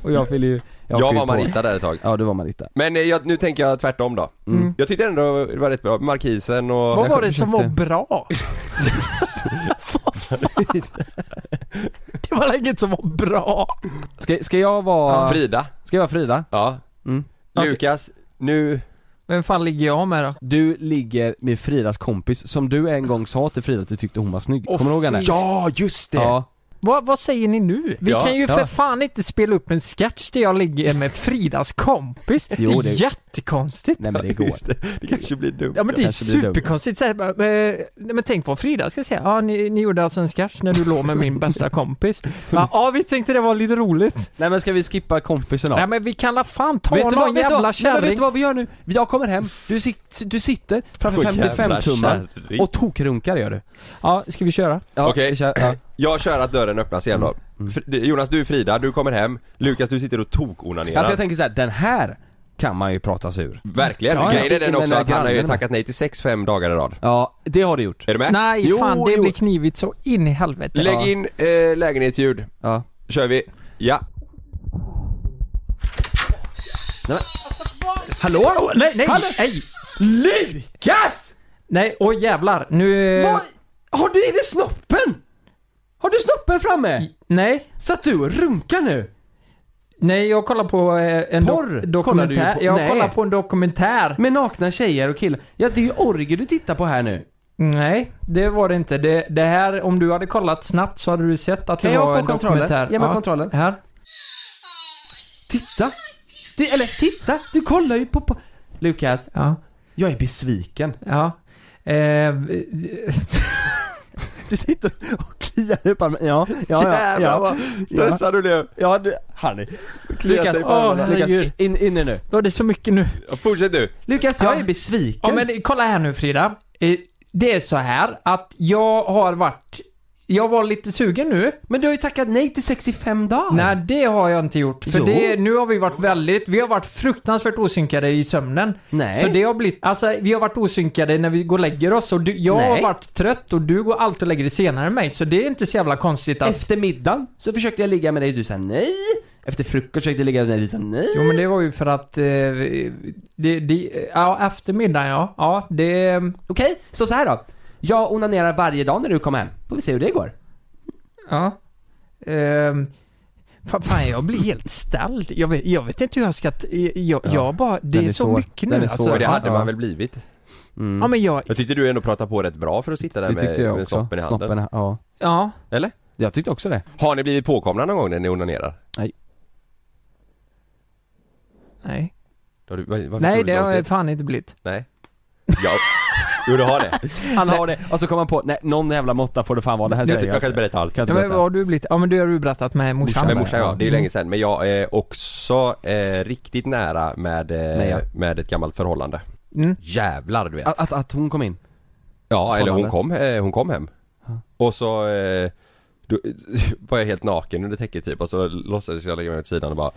Speaker 2: och jag ville ju...
Speaker 1: Jag,
Speaker 2: hoppade ju
Speaker 1: var
Speaker 2: på.
Speaker 1: Marita där ett tag.
Speaker 2: Ja, du var Marita.
Speaker 1: Men eh, jag, nu tänker jag tvärtom då.
Speaker 2: Mm.
Speaker 1: Jag tyckte ändå det var rätt bra, Markisen och...
Speaker 3: Vad var det som var
Speaker 2: försökte-
Speaker 3: bra? Vad fan? Det var inget som var bra.
Speaker 2: Ska, ska jag vara...
Speaker 1: Frida.
Speaker 2: Ska jag vara Frida?
Speaker 1: Ja.
Speaker 2: Mm.
Speaker 1: Lukas, nu...
Speaker 3: Vem fan ligger jag med då?
Speaker 2: Du ligger med Fridas kompis som du en gång sa till Frida att du tyckte hon var snygg. Kommer du ihåg henne?
Speaker 1: Ja, just det!
Speaker 2: Ja.
Speaker 3: Vad, vad säger ni nu? Vi
Speaker 1: Ja,
Speaker 3: kan ju
Speaker 2: ja.
Speaker 3: för fan inte spela upp en sketch där jag ligger med Fridas kompis.
Speaker 2: Jo,
Speaker 3: det är
Speaker 2: det-
Speaker 3: jättekonstigt.
Speaker 2: Nej men det går.
Speaker 1: Just det. det kanske blir dumt.
Speaker 3: Ja men det är
Speaker 2: kanske blir dumt.
Speaker 3: superkonstigt såhär, bara, eh, nej, men tänk på Frida ska jag säga, ja ni, ni gjorde alltså en sketch när du låg med min bästa kompis. Ja, ja vi tänkte det var lite roligt.
Speaker 2: Nej men ska vi skippa kompisen då?
Speaker 3: Nej men vi kan la fan ta
Speaker 2: vet
Speaker 3: någon
Speaker 2: du vad, vet du
Speaker 3: jävla
Speaker 2: vad? Nej, men vet
Speaker 3: kärring.
Speaker 2: du vad vi gör nu? Jag kommer hem, du, sit, du sitter framför
Speaker 1: Åh, jävla
Speaker 2: 55 tummar
Speaker 1: kärring.
Speaker 2: och tokrunkar gör du.
Speaker 3: Ja, ska vi köra?
Speaker 2: Ja,
Speaker 1: Okej.
Speaker 2: vi kör, ja. Alltså,
Speaker 1: Jag kör att dörren öppnas igen då. Fr- Jonas, du är Frida, du kommer hem. Lukas, du sitter och tok-onanerar.
Speaker 2: Alltså jag tänker så här, den här kan man ju prata sig ur.
Speaker 1: Verkligen.
Speaker 2: Ja, ja.
Speaker 1: Grejen är den
Speaker 2: Men
Speaker 1: också
Speaker 2: när
Speaker 1: att han har ju
Speaker 2: grannen-
Speaker 1: tackat nej till sex fem dagar i rad.
Speaker 2: Ja, det har du gjort.
Speaker 1: Är du med?
Speaker 3: Nej
Speaker 2: Jo,
Speaker 3: fan det
Speaker 2: jo.
Speaker 3: blir knivigt så in i helvete.
Speaker 1: Lägg
Speaker 3: Ja.
Speaker 1: in eh, lägenhetsljud.
Speaker 2: Ja.
Speaker 1: Kör vi. Ja.
Speaker 2: Hallå?
Speaker 3: Nej, nej,
Speaker 2: Hallå?
Speaker 3: nej!
Speaker 2: Lukas!
Speaker 3: Nej, åh jävlar. Nu... eh,
Speaker 2: Vad? Har du, är det snoppen? Har du snoppen framme?
Speaker 3: Nej,
Speaker 2: Satt du och runkar nu?
Speaker 3: nej jag kollar på eh, en
Speaker 2: Porr?
Speaker 3: dok-
Speaker 2: Kollar du ju
Speaker 3: dokumentär.
Speaker 2: på-
Speaker 3: jag
Speaker 2: Nej.
Speaker 3: kollar på en dokumentär.
Speaker 2: Med nakna tjejer och killar. Ja, det är ju orger du tittar på här nu.
Speaker 3: Nej, det var det inte. Det, det här, om du hade kollat snabbt så hade du sett att
Speaker 2: Kan
Speaker 3: det
Speaker 2: jag
Speaker 3: var
Speaker 2: få
Speaker 3: en
Speaker 2: kontrollen?
Speaker 3: dokumentär.
Speaker 2: Ge mig kontrollen.
Speaker 3: Här.
Speaker 2: Titta! Du, eller titta! Du kollar ju på... på. Lukas,
Speaker 3: Ja,
Speaker 2: jag är besviken.
Speaker 3: ja. Eh,
Speaker 2: Du sitter och kliar upp armen. Ja,
Speaker 1: Jävlar vad stressad du blev.
Speaker 2: Ja, du, Harry.
Speaker 1: Kliar
Speaker 2: Lukas,
Speaker 1: sig på
Speaker 3: åh,
Speaker 1: armarna.
Speaker 3: herregud.
Speaker 2: Lukas, in, inne nu.
Speaker 3: då är det så mycket nu.
Speaker 1: Ja, Fortsätt du.
Speaker 2: Lukas, jag
Speaker 3: Ja.
Speaker 2: är besviken.
Speaker 3: Ja men kolla här nu Frida. Eh, det är så här att jag har varit... Jag var lite sugen nu.
Speaker 2: Men du har ju tackat nej till 65 dagar.
Speaker 3: Nej, det har jag inte gjort. För
Speaker 2: Jo.
Speaker 3: det, nu har vi varit väldigt, vi har varit fruktansvärt osynkade i sömnen.
Speaker 2: Nej.
Speaker 3: Så det har blivit, alltså vi har varit osynkade när vi går och lägger oss och du, jag har
Speaker 2: Nej.
Speaker 3: varit trött och du går alltid och lägger dig senare än mig. Så det är inte så jävla konstigt att...
Speaker 2: Efter middagen så försökte jag ligga med dig och du sa nej. Efter frukost försökte jag ligga med dig och du sa nej.
Speaker 3: Jo men det var ju för att... Eh, det, det, ja, eftermiddagen ja. Ja, det...
Speaker 2: Okej, så så här då. Jag onanerar varje dag när du kommer hem. Får vi se hur det går.
Speaker 3: Ja. Ehm, fan, fan, jag blir helt ställd. Jag vet, jag vet inte hur jag ska... t- Jag, jag bara... Det är,
Speaker 2: den är
Speaker 3: så
Speaker 2: svår.
Speaker 3: mycket nu
Speaker 2: Den är svår.
Speaker 1: Men
Speaker 3: alltså.
Speaker 1: det hade
Speaker 2: Ja.
Speaker 1: man väl blivit?
Speaker 2: Mm.
Speaker 3: Ja men jag...
Speaker 1: Jag tyckte du ändå pratade på rätt bra för att sitta där med, med snoppen i handen.
Speaker 2: Snoppen, ja.
Speaker 3: Ja.
Speaker 1: Eller?
Speaker 2: Jag tyckte också det.
Speaker 1: Har ni blivit påkomna någon gång när ni onanerar?
Speaker 3: Nej.
Speaker 1: Har du- var- varför
Speaker 3: Nej,
Speaker 1: tog
Speaker 3: det har
Speaker 1: lång
Speaker 3: jag
Speaker 1: tid?
Speaker 3: fan inte blivit.
Speaker 1: Nej. Ja. Jo du har det.
Speaker 2: Han har det. Och så kommer han på, nej någon jävla måtta får det fan vara. Det här
Speaker 1: Jag,
Speaker 2: säger alltså-
Speaker 1: jag kan inte berätta allt.
Speaker 2: Kan
Speaker 3: Ja,
Speaker 2: inte
Speaker 3: men vad
Speaker 2: berätta.
Speaker 3: har du blivit? Ja men det har du berättat med morsan.
Speaker 1: Med
Speaker 2: Ja,
Speaker 1: morsan
Speaker 2: ja. Mm.
Speaker 1: ja, det är ju länge sedan. Men jag är också eh, riktigt nära med, eh,
Speaker 2: Nej, ja.
Speaker 1: med ett gammalt förhållande.
Speaker 3: Mm.
Speaker 1: Jävlar du vet.
Speaker 2: Att, att, att hon kom in.
Speaker 1: Ja, eller hon
Speaker 2: förhållandet.
Speaker 1: kom, eh, hon kom hem. Och så eh, då, var jag helt naken under täcket typ och så låtsades jag lägga mig åt sidan och bara,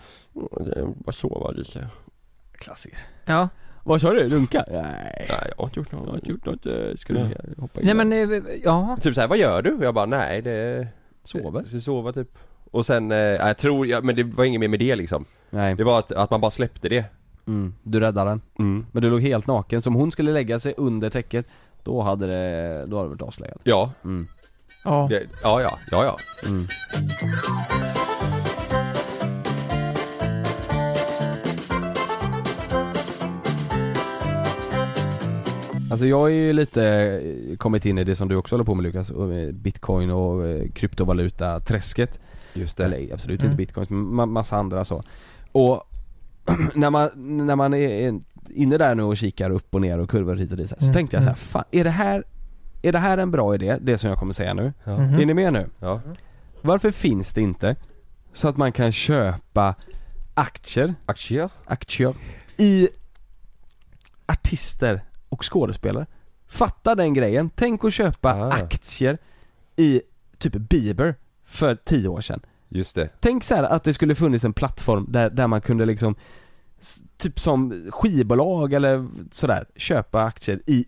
Speaker 1: "Mm, bara sova lite.
Speaker 2: Klassiker.
Speaker 3: Ja.
Speaker 2: Vad sa du? Runka? Nej.
Speaker 1: Nej jag har inte gjort något.
Speaker 2: Jag har inte gjort något. eh, Ska du hoppa in?
Speaker 3: Nej men, eh, ja.
Speaker 1: Typ såhär, vad gör du? Och jag bara, nej det...
Speaker 2: Sover?
Speaker 1: Så Sova typ. Och sen, eh, jag tror, ja, men det var inget mer med det liksom.
Speaker 2: Nej.
Speaker 1: Det var att, att man bara släppte det.
Speaker 2: Mm. Du räddar den.
Speaker 1: Mm.
Speaker 2: Men du låg helt naken, som hon skulle lägga sig under täcket Då hade det, då hade det varit avslöjat
Speaker 1: Ja,
Speaker 2: Mm.
Speaker 3: ja.
Speaker 1: det, ja, ja, ja, ja.
Speaker 2: Alltså jag har ju lite eh, kommit in i det som du också håller på med Lukas, och, eh, bitcoin och eh, kryptovaluta-träsket
Speaker 1: Just det.
Speaker 2: Eller absolut
Speaker 3: Mm.
Speaker 2: inte bitcoin, men ma- massa andra så Och när man, när man är inne där nu och kikar upp och ner och kurvor hit och dit så, här, så
Speaker 3: Mm,
Speaker 2: tänkte jag så här,
Speaker 3: mm.
Speaker 2: fan är det här, är det här en bra idé? Det som jag kommer säga nu?
Speaker 1: Ja.
Speaker 3: Mhm.
Speaker 2: Är ni med nu?
Speaker 1: Ja.
Speaker 2: Varför finns det inte så att man kan köpa aktier,
Speaker 1: Aktier?
Speaker 2: aktier i artister och skådespelare? Fatta den grejen. Tänk att köpa
Speaker 1: Ah.
Speaker 2: aktier i typ Bieber för tio år sedan.
Speaker 1: Just det.
Speaker 2: Tänk så här att det skulle funnits en plattform där, där man kunde liksom s- Typ som skivbolag eller sådär, köpa aktier i,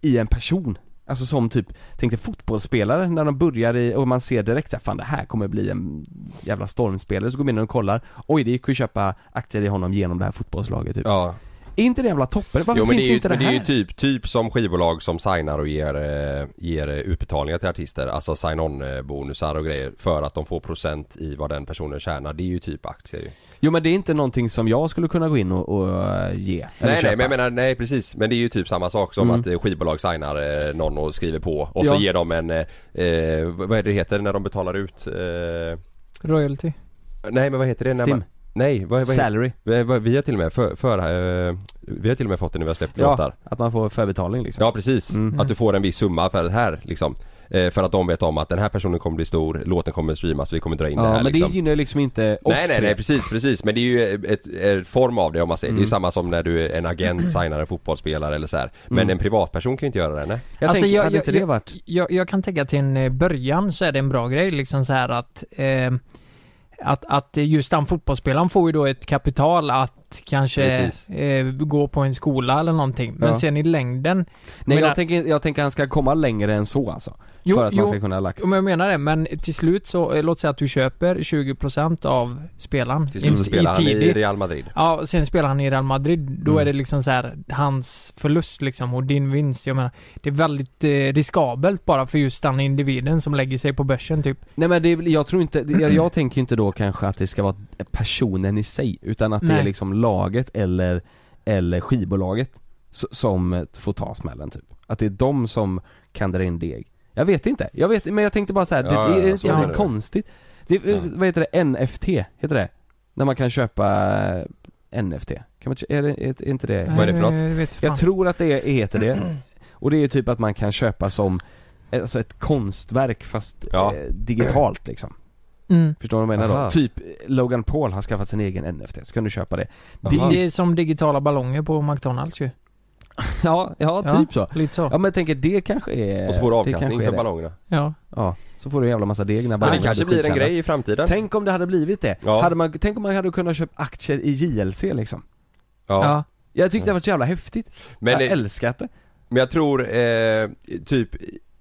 Speaker 2: i en person Alltså som typ, tänkte fotbollsspelare när de börjar i, och man ser direkt såhär, fan det här kommer bli en jävla stormspelare, så går man in och kollar, oj det gick ju att köpa aktier i honom genom det här fotbollslaget typ.
Speaker 1: Ja.
Speaker 2: Är inte det jävla toppen? Varför
Speaker 1: Jo, men
Speaker 2: finns
Speaker 1: det är ju,
Speaker 2: inte det
Speaker 1: men det
Speaker 2: här?
Speaker 1: är ju typ, typ som skivbolag som signar och ger, eh, ger eh, utbetalningar till artister. Alltså sign-on eh, bonusar och grejer. För att de får procent i vad den personen tjänar. Det är ju typ aktier ju.
Speaker 2: Jo men det är inte någonting som jag skulle kunna gå in och, och eh, ge. eller
Speaker 1: Nej nej
Speaker 2: köpa.
Speaker 1: men jag menar, nej precis. Men det är ju typ samma sak som
Speaker 2: Mm.
Speaker 1: att eh, skivbolag signar eh, någon och skriver på. Och så
Speaker 2: Ja.
Speaker 1: ger de en, eh, eh, vad är det det heter när de betalar ut? Eh,
Speaker 3: Royalty.
Speaker 1: nej men vad heter det? När
Speaker 2: Stim.
Speaker 1: man, nej vad, vad, heter,
Speaker 2: Salary.
Speaker 1: vad, vad, vi har till och med för, för, eh, vi har till och med fått det när vi har släppt låtar.
Speaker 2: Ja, att man får förbetalning liksom.
Speaker 1: Ja precis, att du får en viss summa för det här liksom. Eh, för att de vet om att den här personen kommer bli stor, låten kommer streamas, vi kommer dra in
Speaker 2: Ja,
Speaker 1: det här
Speaker 2: men
Speaker 1: liksom.
Speaker 2: det gynnar ju liksom inte
Speaker 1: Nej
Speaker 2: oss
Speaker 1: nej
Speaker 2: tre. Mm.
Speaker 1: nej precis, precis. Men det är ju ett, ett form av det om man säger. Det är ju samma som när du är en agent signar en fotbollsspelare eller så här. Men
Speaker 2: Mm.
Speaker 1: en privatperson kan ju inte göra det nej.
Speaker 2: Jag
Speaker 3: Alltså,
Speaker 2: tänker,
Speaker 3: jag-
Speaker 2: hade
Speaker 3: jag-
Speaker 2: inte det varit?
Speaker 3: Jag, jag kan tänka till en eh, början så är det en bra grej liksom så här att eh, att, att just den fotbollsspelaren får ju då ett kapital att kanske
Speaker 1: Precis.
Speaker 3: eh, gå på en skola eller någonting. Men
Speaker 2: Ja.
Speaker 3: sen i längden.
Speaker 2: Nej jag,
Speaker 3: menar-
Speaker 2: tänker, jag tänker han ska komma längre än så alltså.
Speaker 3: Jo,
Speaker 2: för att
Speaker 3: jo,
Speaker 2: man ska kunna ha lagt.
Speaker 3: Om jag menar det, men till slut så, eh, låt säga att du köper 20% av spelaren
Speaker 1: Till slut så spelar han
Speaker 3: Tibi.
Speaker 1: i Real Madrid.
Speaker 3: Ja, och sen spelar han i Real Madrid. Då
Speaker 2: Mm.
Speaker 3: är det liksom så här hans förlust liksom och din vinst. Jag menar, det är väldigt eh, riskabelt bara för just den individen som lägger sig på börsen typ.
Speaker 2: Nej men det, är- jag tror inte, det- jag, jag tänker inte då kanske att det ska vara personen i sig utan att det är
Speaker 3: Nej.
Speaker 2: liksom laget eller, eller skivbolaget s- som eh, får ta smällen typ. Att det är de som kan dra in deg. Jag vet inte, jag vet men jag tänkte bara så här, det,
Speaker 1: Ja,
Speaker 2: det är
Speaker 1: ja,
Speaker 2: inte
Speaker 1: så
Speaker 2: jävla
Speaker 1: är det.
Speaker 2: konstigt. Det, eh,
Speaker 1: Ja.
Speaker 2: Vad heter det? NFT, heter det? När man kan köpa eh, NFT? Kan man, kö- är, det, är inte det?
Speaker 1: Vad är det för något?
Speaker 3: Eh, vet fan.
Speaker 2: Jag tror att det är- heter det. Och det är typ att man kan köpa som alltså ett konstverk fast
Speaker 1: Ja.
Speaker 2: eh, digitalt liksom.
Speaker 3: Mm.
Speaker 2: Förstår du vad jag menar
Speaker 1: Aha.
Speaker 2: då? Typ eh, Logan Paul har skaffat sin egen NFT, så kan du köpa det.
Speaker 3: Det,
Speaker 1: Aha.
Speaker 3: det är som digitala ballonger på McDonalds ju.
Speaker 2: Ja, ja
Speaker 3: Ja.
Speaker 2: typ så.
Speaker 3: Lite så.
Speaker 2: Ja men jag tänker det kanske är...
Speaker 1: Och så får du
Speaker 2: det
Speaker 1: avkastning
Speaker 2: kanske är
Speaker 1: för
Speaker 2: det.
Speaker 1: ballongerna.
Speaker 3: Ja.
Speaker 2: Ja, så får du en jävla massa deg när
Speaker 1: Men det
Speaker 2: ballongen
Speaker 1: kanske blir en
Speaker 2: skitkärna.
Speaker 1: grej i framtiden.
Speaker 2: Tänk om det hade blivit det.
Speaker 1: Ja.
Speaker 2: Hade man, tänk om man hade kunnat köpa aktier i JLC liksom.
Speaker 3: Ja.
Speaker 1: Ja.
Speaker 2: Jag tyckte det var så jävla häftigt.
Speaker 1: Men
Speaker 2: jag
Speaker 1: det-
Speaker 2: älskat det.
Speaker 1: Men jag tror eh, typ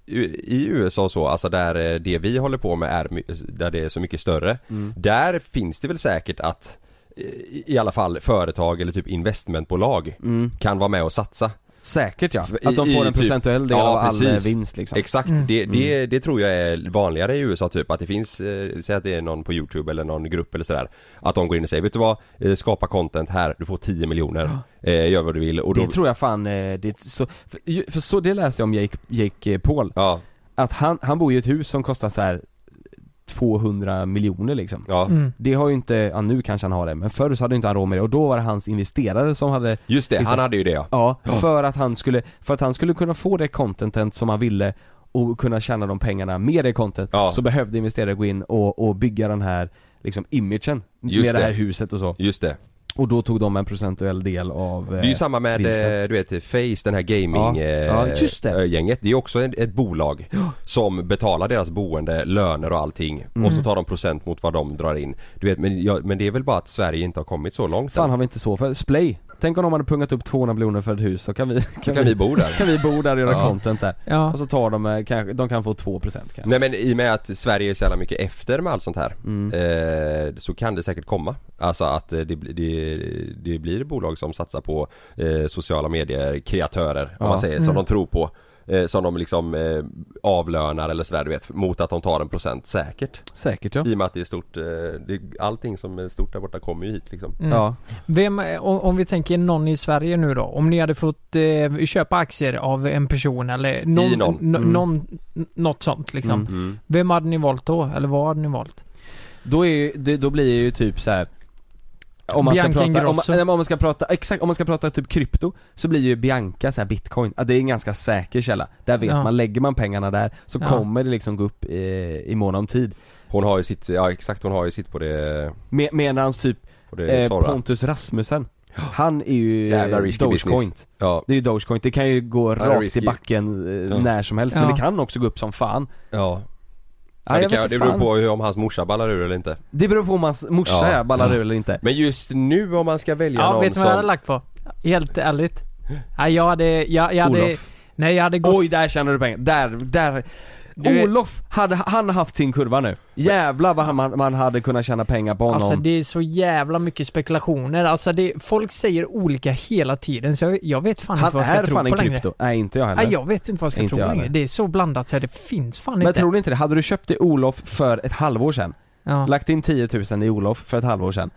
Speaker 1: i- i USA och så, alltså där eh, det vi håller på med är, my- där det är så mycket större.
Speaker 2: Mm.
Speaker 1: Där finns det väl säkert att eh, i alla fall företag eller typ investmentbolag kan vara med och satsa.
Speaker 2: Mm. Säkert ja.
Speaker 1: För-
Speaker 2: Att de
Speaker 1: i-
Speaker 2: får
Speaker 1: i
Speaker 2: en
Speaker 1: typ-
Speaker 2: procentuell del
Speaker 1: Ja,
Speaker 2: av all eh,
Speaker 1: precis.
Speaker 2: vinst liksom.
Speaker 1: Exakt, det, det, det tror jag är vanligare i USA typ att det finns, eh, säg att det är någon på Youtube eller någon grupp eller sådär Att de går in och säger, vet du vad? Eh, skapa content här, du får 10 miljoner, eh, gör vad du vill och då
Speaker 2: Det tror jag fan, eh, det, så, för, ju- för så det läste jag om Jake, Jake eh, Paul,
Speaker 1: Ja,
Speaker 2: att han, han bor i ett hus som kostar så här 200 miljoner liksom
Speaker 1: ja
Speaker 3: Mm.
Speaker 2: Det har ju inte, ja nu kanske han har det, men förr så hade inte han råd med det och då var det hans investerare som hade
Speaker 1: just det,
Speaker 2: Liksom.
Speaker 1: han hade ju det ja
Speaker 2: Ja, för att han skulle, för att han skulle kunna få det contenten som han ville och kunna tjäna de pengarna med det content
Speaker 1: Ja.
Speaker 2: så behövde investerare gå in och, och bygga den här liksom imagen
Speaker 1: Just
Speaker 2: med det. här
Speaker 1: det.
Speaker 2: huset och så
Speaker 1: Just det
Speaker 2: Och då tog de en procentuell del av
Speaker 1: Det är ju samma med,
Speaker 2: vinsten.
Speaker 1: eh, du vet, Face, den här gaming
Speaker 2: Ja.
Speaker 1: eh,
Speaker 2: Ja, just det.
Speaker 1: eh, gänget. Det är också en- ett bolag som betalar deras boende, löner och allting. Och
Speaker 2: Mm.
Speaker 1: så tar de procent mot vad de drar in. Du vet, men, jag, men det är väl bara att Sverige inte har kommit så långt
Speaker 2: Fan
Speaker 1: än.
Speaker 2: har vi inte så för, Splay Tänk om de hade pungat upp 200 miljoner för ett hus så kan vi,
Speaker 1: Då kan vi bo där.
Speaker 2: kan vi bo där och göra
Speaker 1: Ja.
Speaker 2: content där
Speaker 3: Ja.
Speaker 2: Och så tar de eh, kanske, de kan få 2% kanske
Speaker 1: Nej men i och med att Sverige är så jävla mycket efter med allt sånt här
Speaker 2: Mm.
Speaker 1: eh, Så kan det säkert komma Alltså att eh, det, bli- det, det blir bolag som satsar på eh, sociala medier kreatörer
Speaker 2: Ja. Mm.
Speaker 1: om man säger som de tror på eh, Som de liksom eh, avlönar eller sådär du vet Mot att de tar en procent säkert
Speaker 2: Säkert ja
Speaker 1: I och med att det är stort, eh, det, allting som är stort där borta kommer ju hit liksom
Speaker 3: Mm.
Speaker 2: Ja,
Speaker 3: Vem, eh, om, om vi tänker någon i Sverige nu då. Om ni hade fått eh, köpa aktier av en person eller någon,
Speaker 1: I någon.
Speaker 3: n-
Speaker 2: Mm.
Speaker 3: någon n- något sånt liksom.
Speaker 2: Mm.
Speaker 3: Vem hade ni valt då? Eller vad hade ni valt?
Speaker 2: då, är ju, det, då blir det ju typ så här. Om man, ska
Speaker 3: Bianca
Speaker 2: prata, om,
Speaker 3: Ingrosso.
Speaker 2: nej, men om man ska prata, exakt, om man ska prata typ krypto Så blir ju Bianca så här bitcoin, ja, det är en ganska säker källa Där vet
Speaker 3: Ja.
Speaker 2: man, lägger man pengarna där så
Speaker 3: Ja.
Speaker 2: kommer det liksom gå upp i, i mån om tid
Speaker 1: Hon har ju sitt, ja exakt hon har ju sitt på det,
Speaker 2: Med, Medans typ
Speaker 1: på det
Speaker 2: eh,
Speaker 1: torra
Speaker 2: Pontus Rasmussen Han är ju
Speaker 1: Jävla
Speaker 2: eh,
Speaker 1: risky business. Ja,
Speaker 2: Det är ju Dogecoin, det kan ju gå
Speaker 1: det är
Speaker 2: rakt
Speaker 1: risky.
Speaker 2: i backen eh,
Speaker 1: Ja.
Speaker 2: när som helst men
Speaker 3: Ja.
Speaker 2: det kan också gå upp som fan.
Speaker 1: ja.
Speaker 2: Ja,
Speaker 1: det,
Speaker 2: jag
Speaker 1: kan,
Speaker 2: vet
Speaker 1: det
Speaker 2: inte
Speaker 1: beror
Speaker 2: fan.
Speaker 1: på hur, om hans morsa ballar ur eller inte
Speaker 2: det beror på om hans morsa
Speaker 1: Ja.
Speaker 2: ja. ballar
Speaker 1: Ja.
Speaker 2: ur eller inte.
Speaker 1: Men just nu om man ska välja
Speaker 3: Ja,
Speaker 1: någon
Speaker 3: vet ni
Speaker 1: som...
Speaker 3: vad jag hade lagt på? Helt ärligt. Nej, jag hade, jag, jag hade,
Speaker 2: Olof.
Speaker 3: Nej, jag hade gått...
Speaker 2: Oj, där tjänar du pengar. Där, där.
Speaker 3: Du vet-
Speaker 2: Olof, hade han haft sin kurva nu? Jävlar vad han, man, man hade kunnat tjäna pengar på honom.
Speaker 3: Alltså det är så jävla mycket spekulationer. Alltså det, folk säger olika hela tiden så jag, jag vet fan
Speaker 2: han
Speaker 3: inte vad jag ska
Speaker 2: är
Speaker 3: tro
Speaker 2: fan
Speaker 3: på
Speaker 2: en
Speaker 3: längre.
Speaker 2: krypto. Nej, inte jag heller.
Speaker 3: Nej, jag vet inte vad jag ska
Speaker 2: Inte
Speaker 3: tro
Speaker 2: jag
Speaker 3: längre.
Speaker 2: heller.
Speaker 3: Det är så blandat så det finns fan
Speaker 2: Men
Speaker 3: inte.
Speaker 2: tror du inte det? Hade du köpt det Olof för ett halvår sedan?
Speaker 3: ja.
Speaker 2: Lagt in 10 000 i Olof för ett halvår sedan.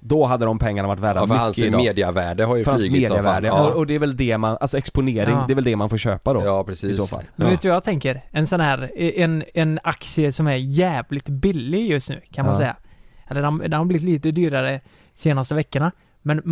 Speaker 2: Då hade de pengarna varit värda
Speaker 1: Ja, för
Speaker 2: mycket
Speaker 1: hans
Speaker 2: idag.
Speaker 1: mediavärde har ju
Speaker 2: för hans
Speaker 1: flugit som fan.
Speaker 2: medievärde. Och,
Speaker 1: Ja,
Speaker 2: och det är väl det man, alltså exponering,
Speaker 3: Ja.
Speaker 2: det är väl det man får köpa då.
Speaker 1: ja precis.
Speaker 2: I så fall.
Speaker 3: Men
Speaker 2: Ja.
Speaker 3: vet du vad jag tänker? En sån här, en, en aktie som är jävligt billig just nu kan man
Speaker 2: Ja.
Speaker 3: säga. Eller den, den har blivit lite dyrare senaste veckorna. Men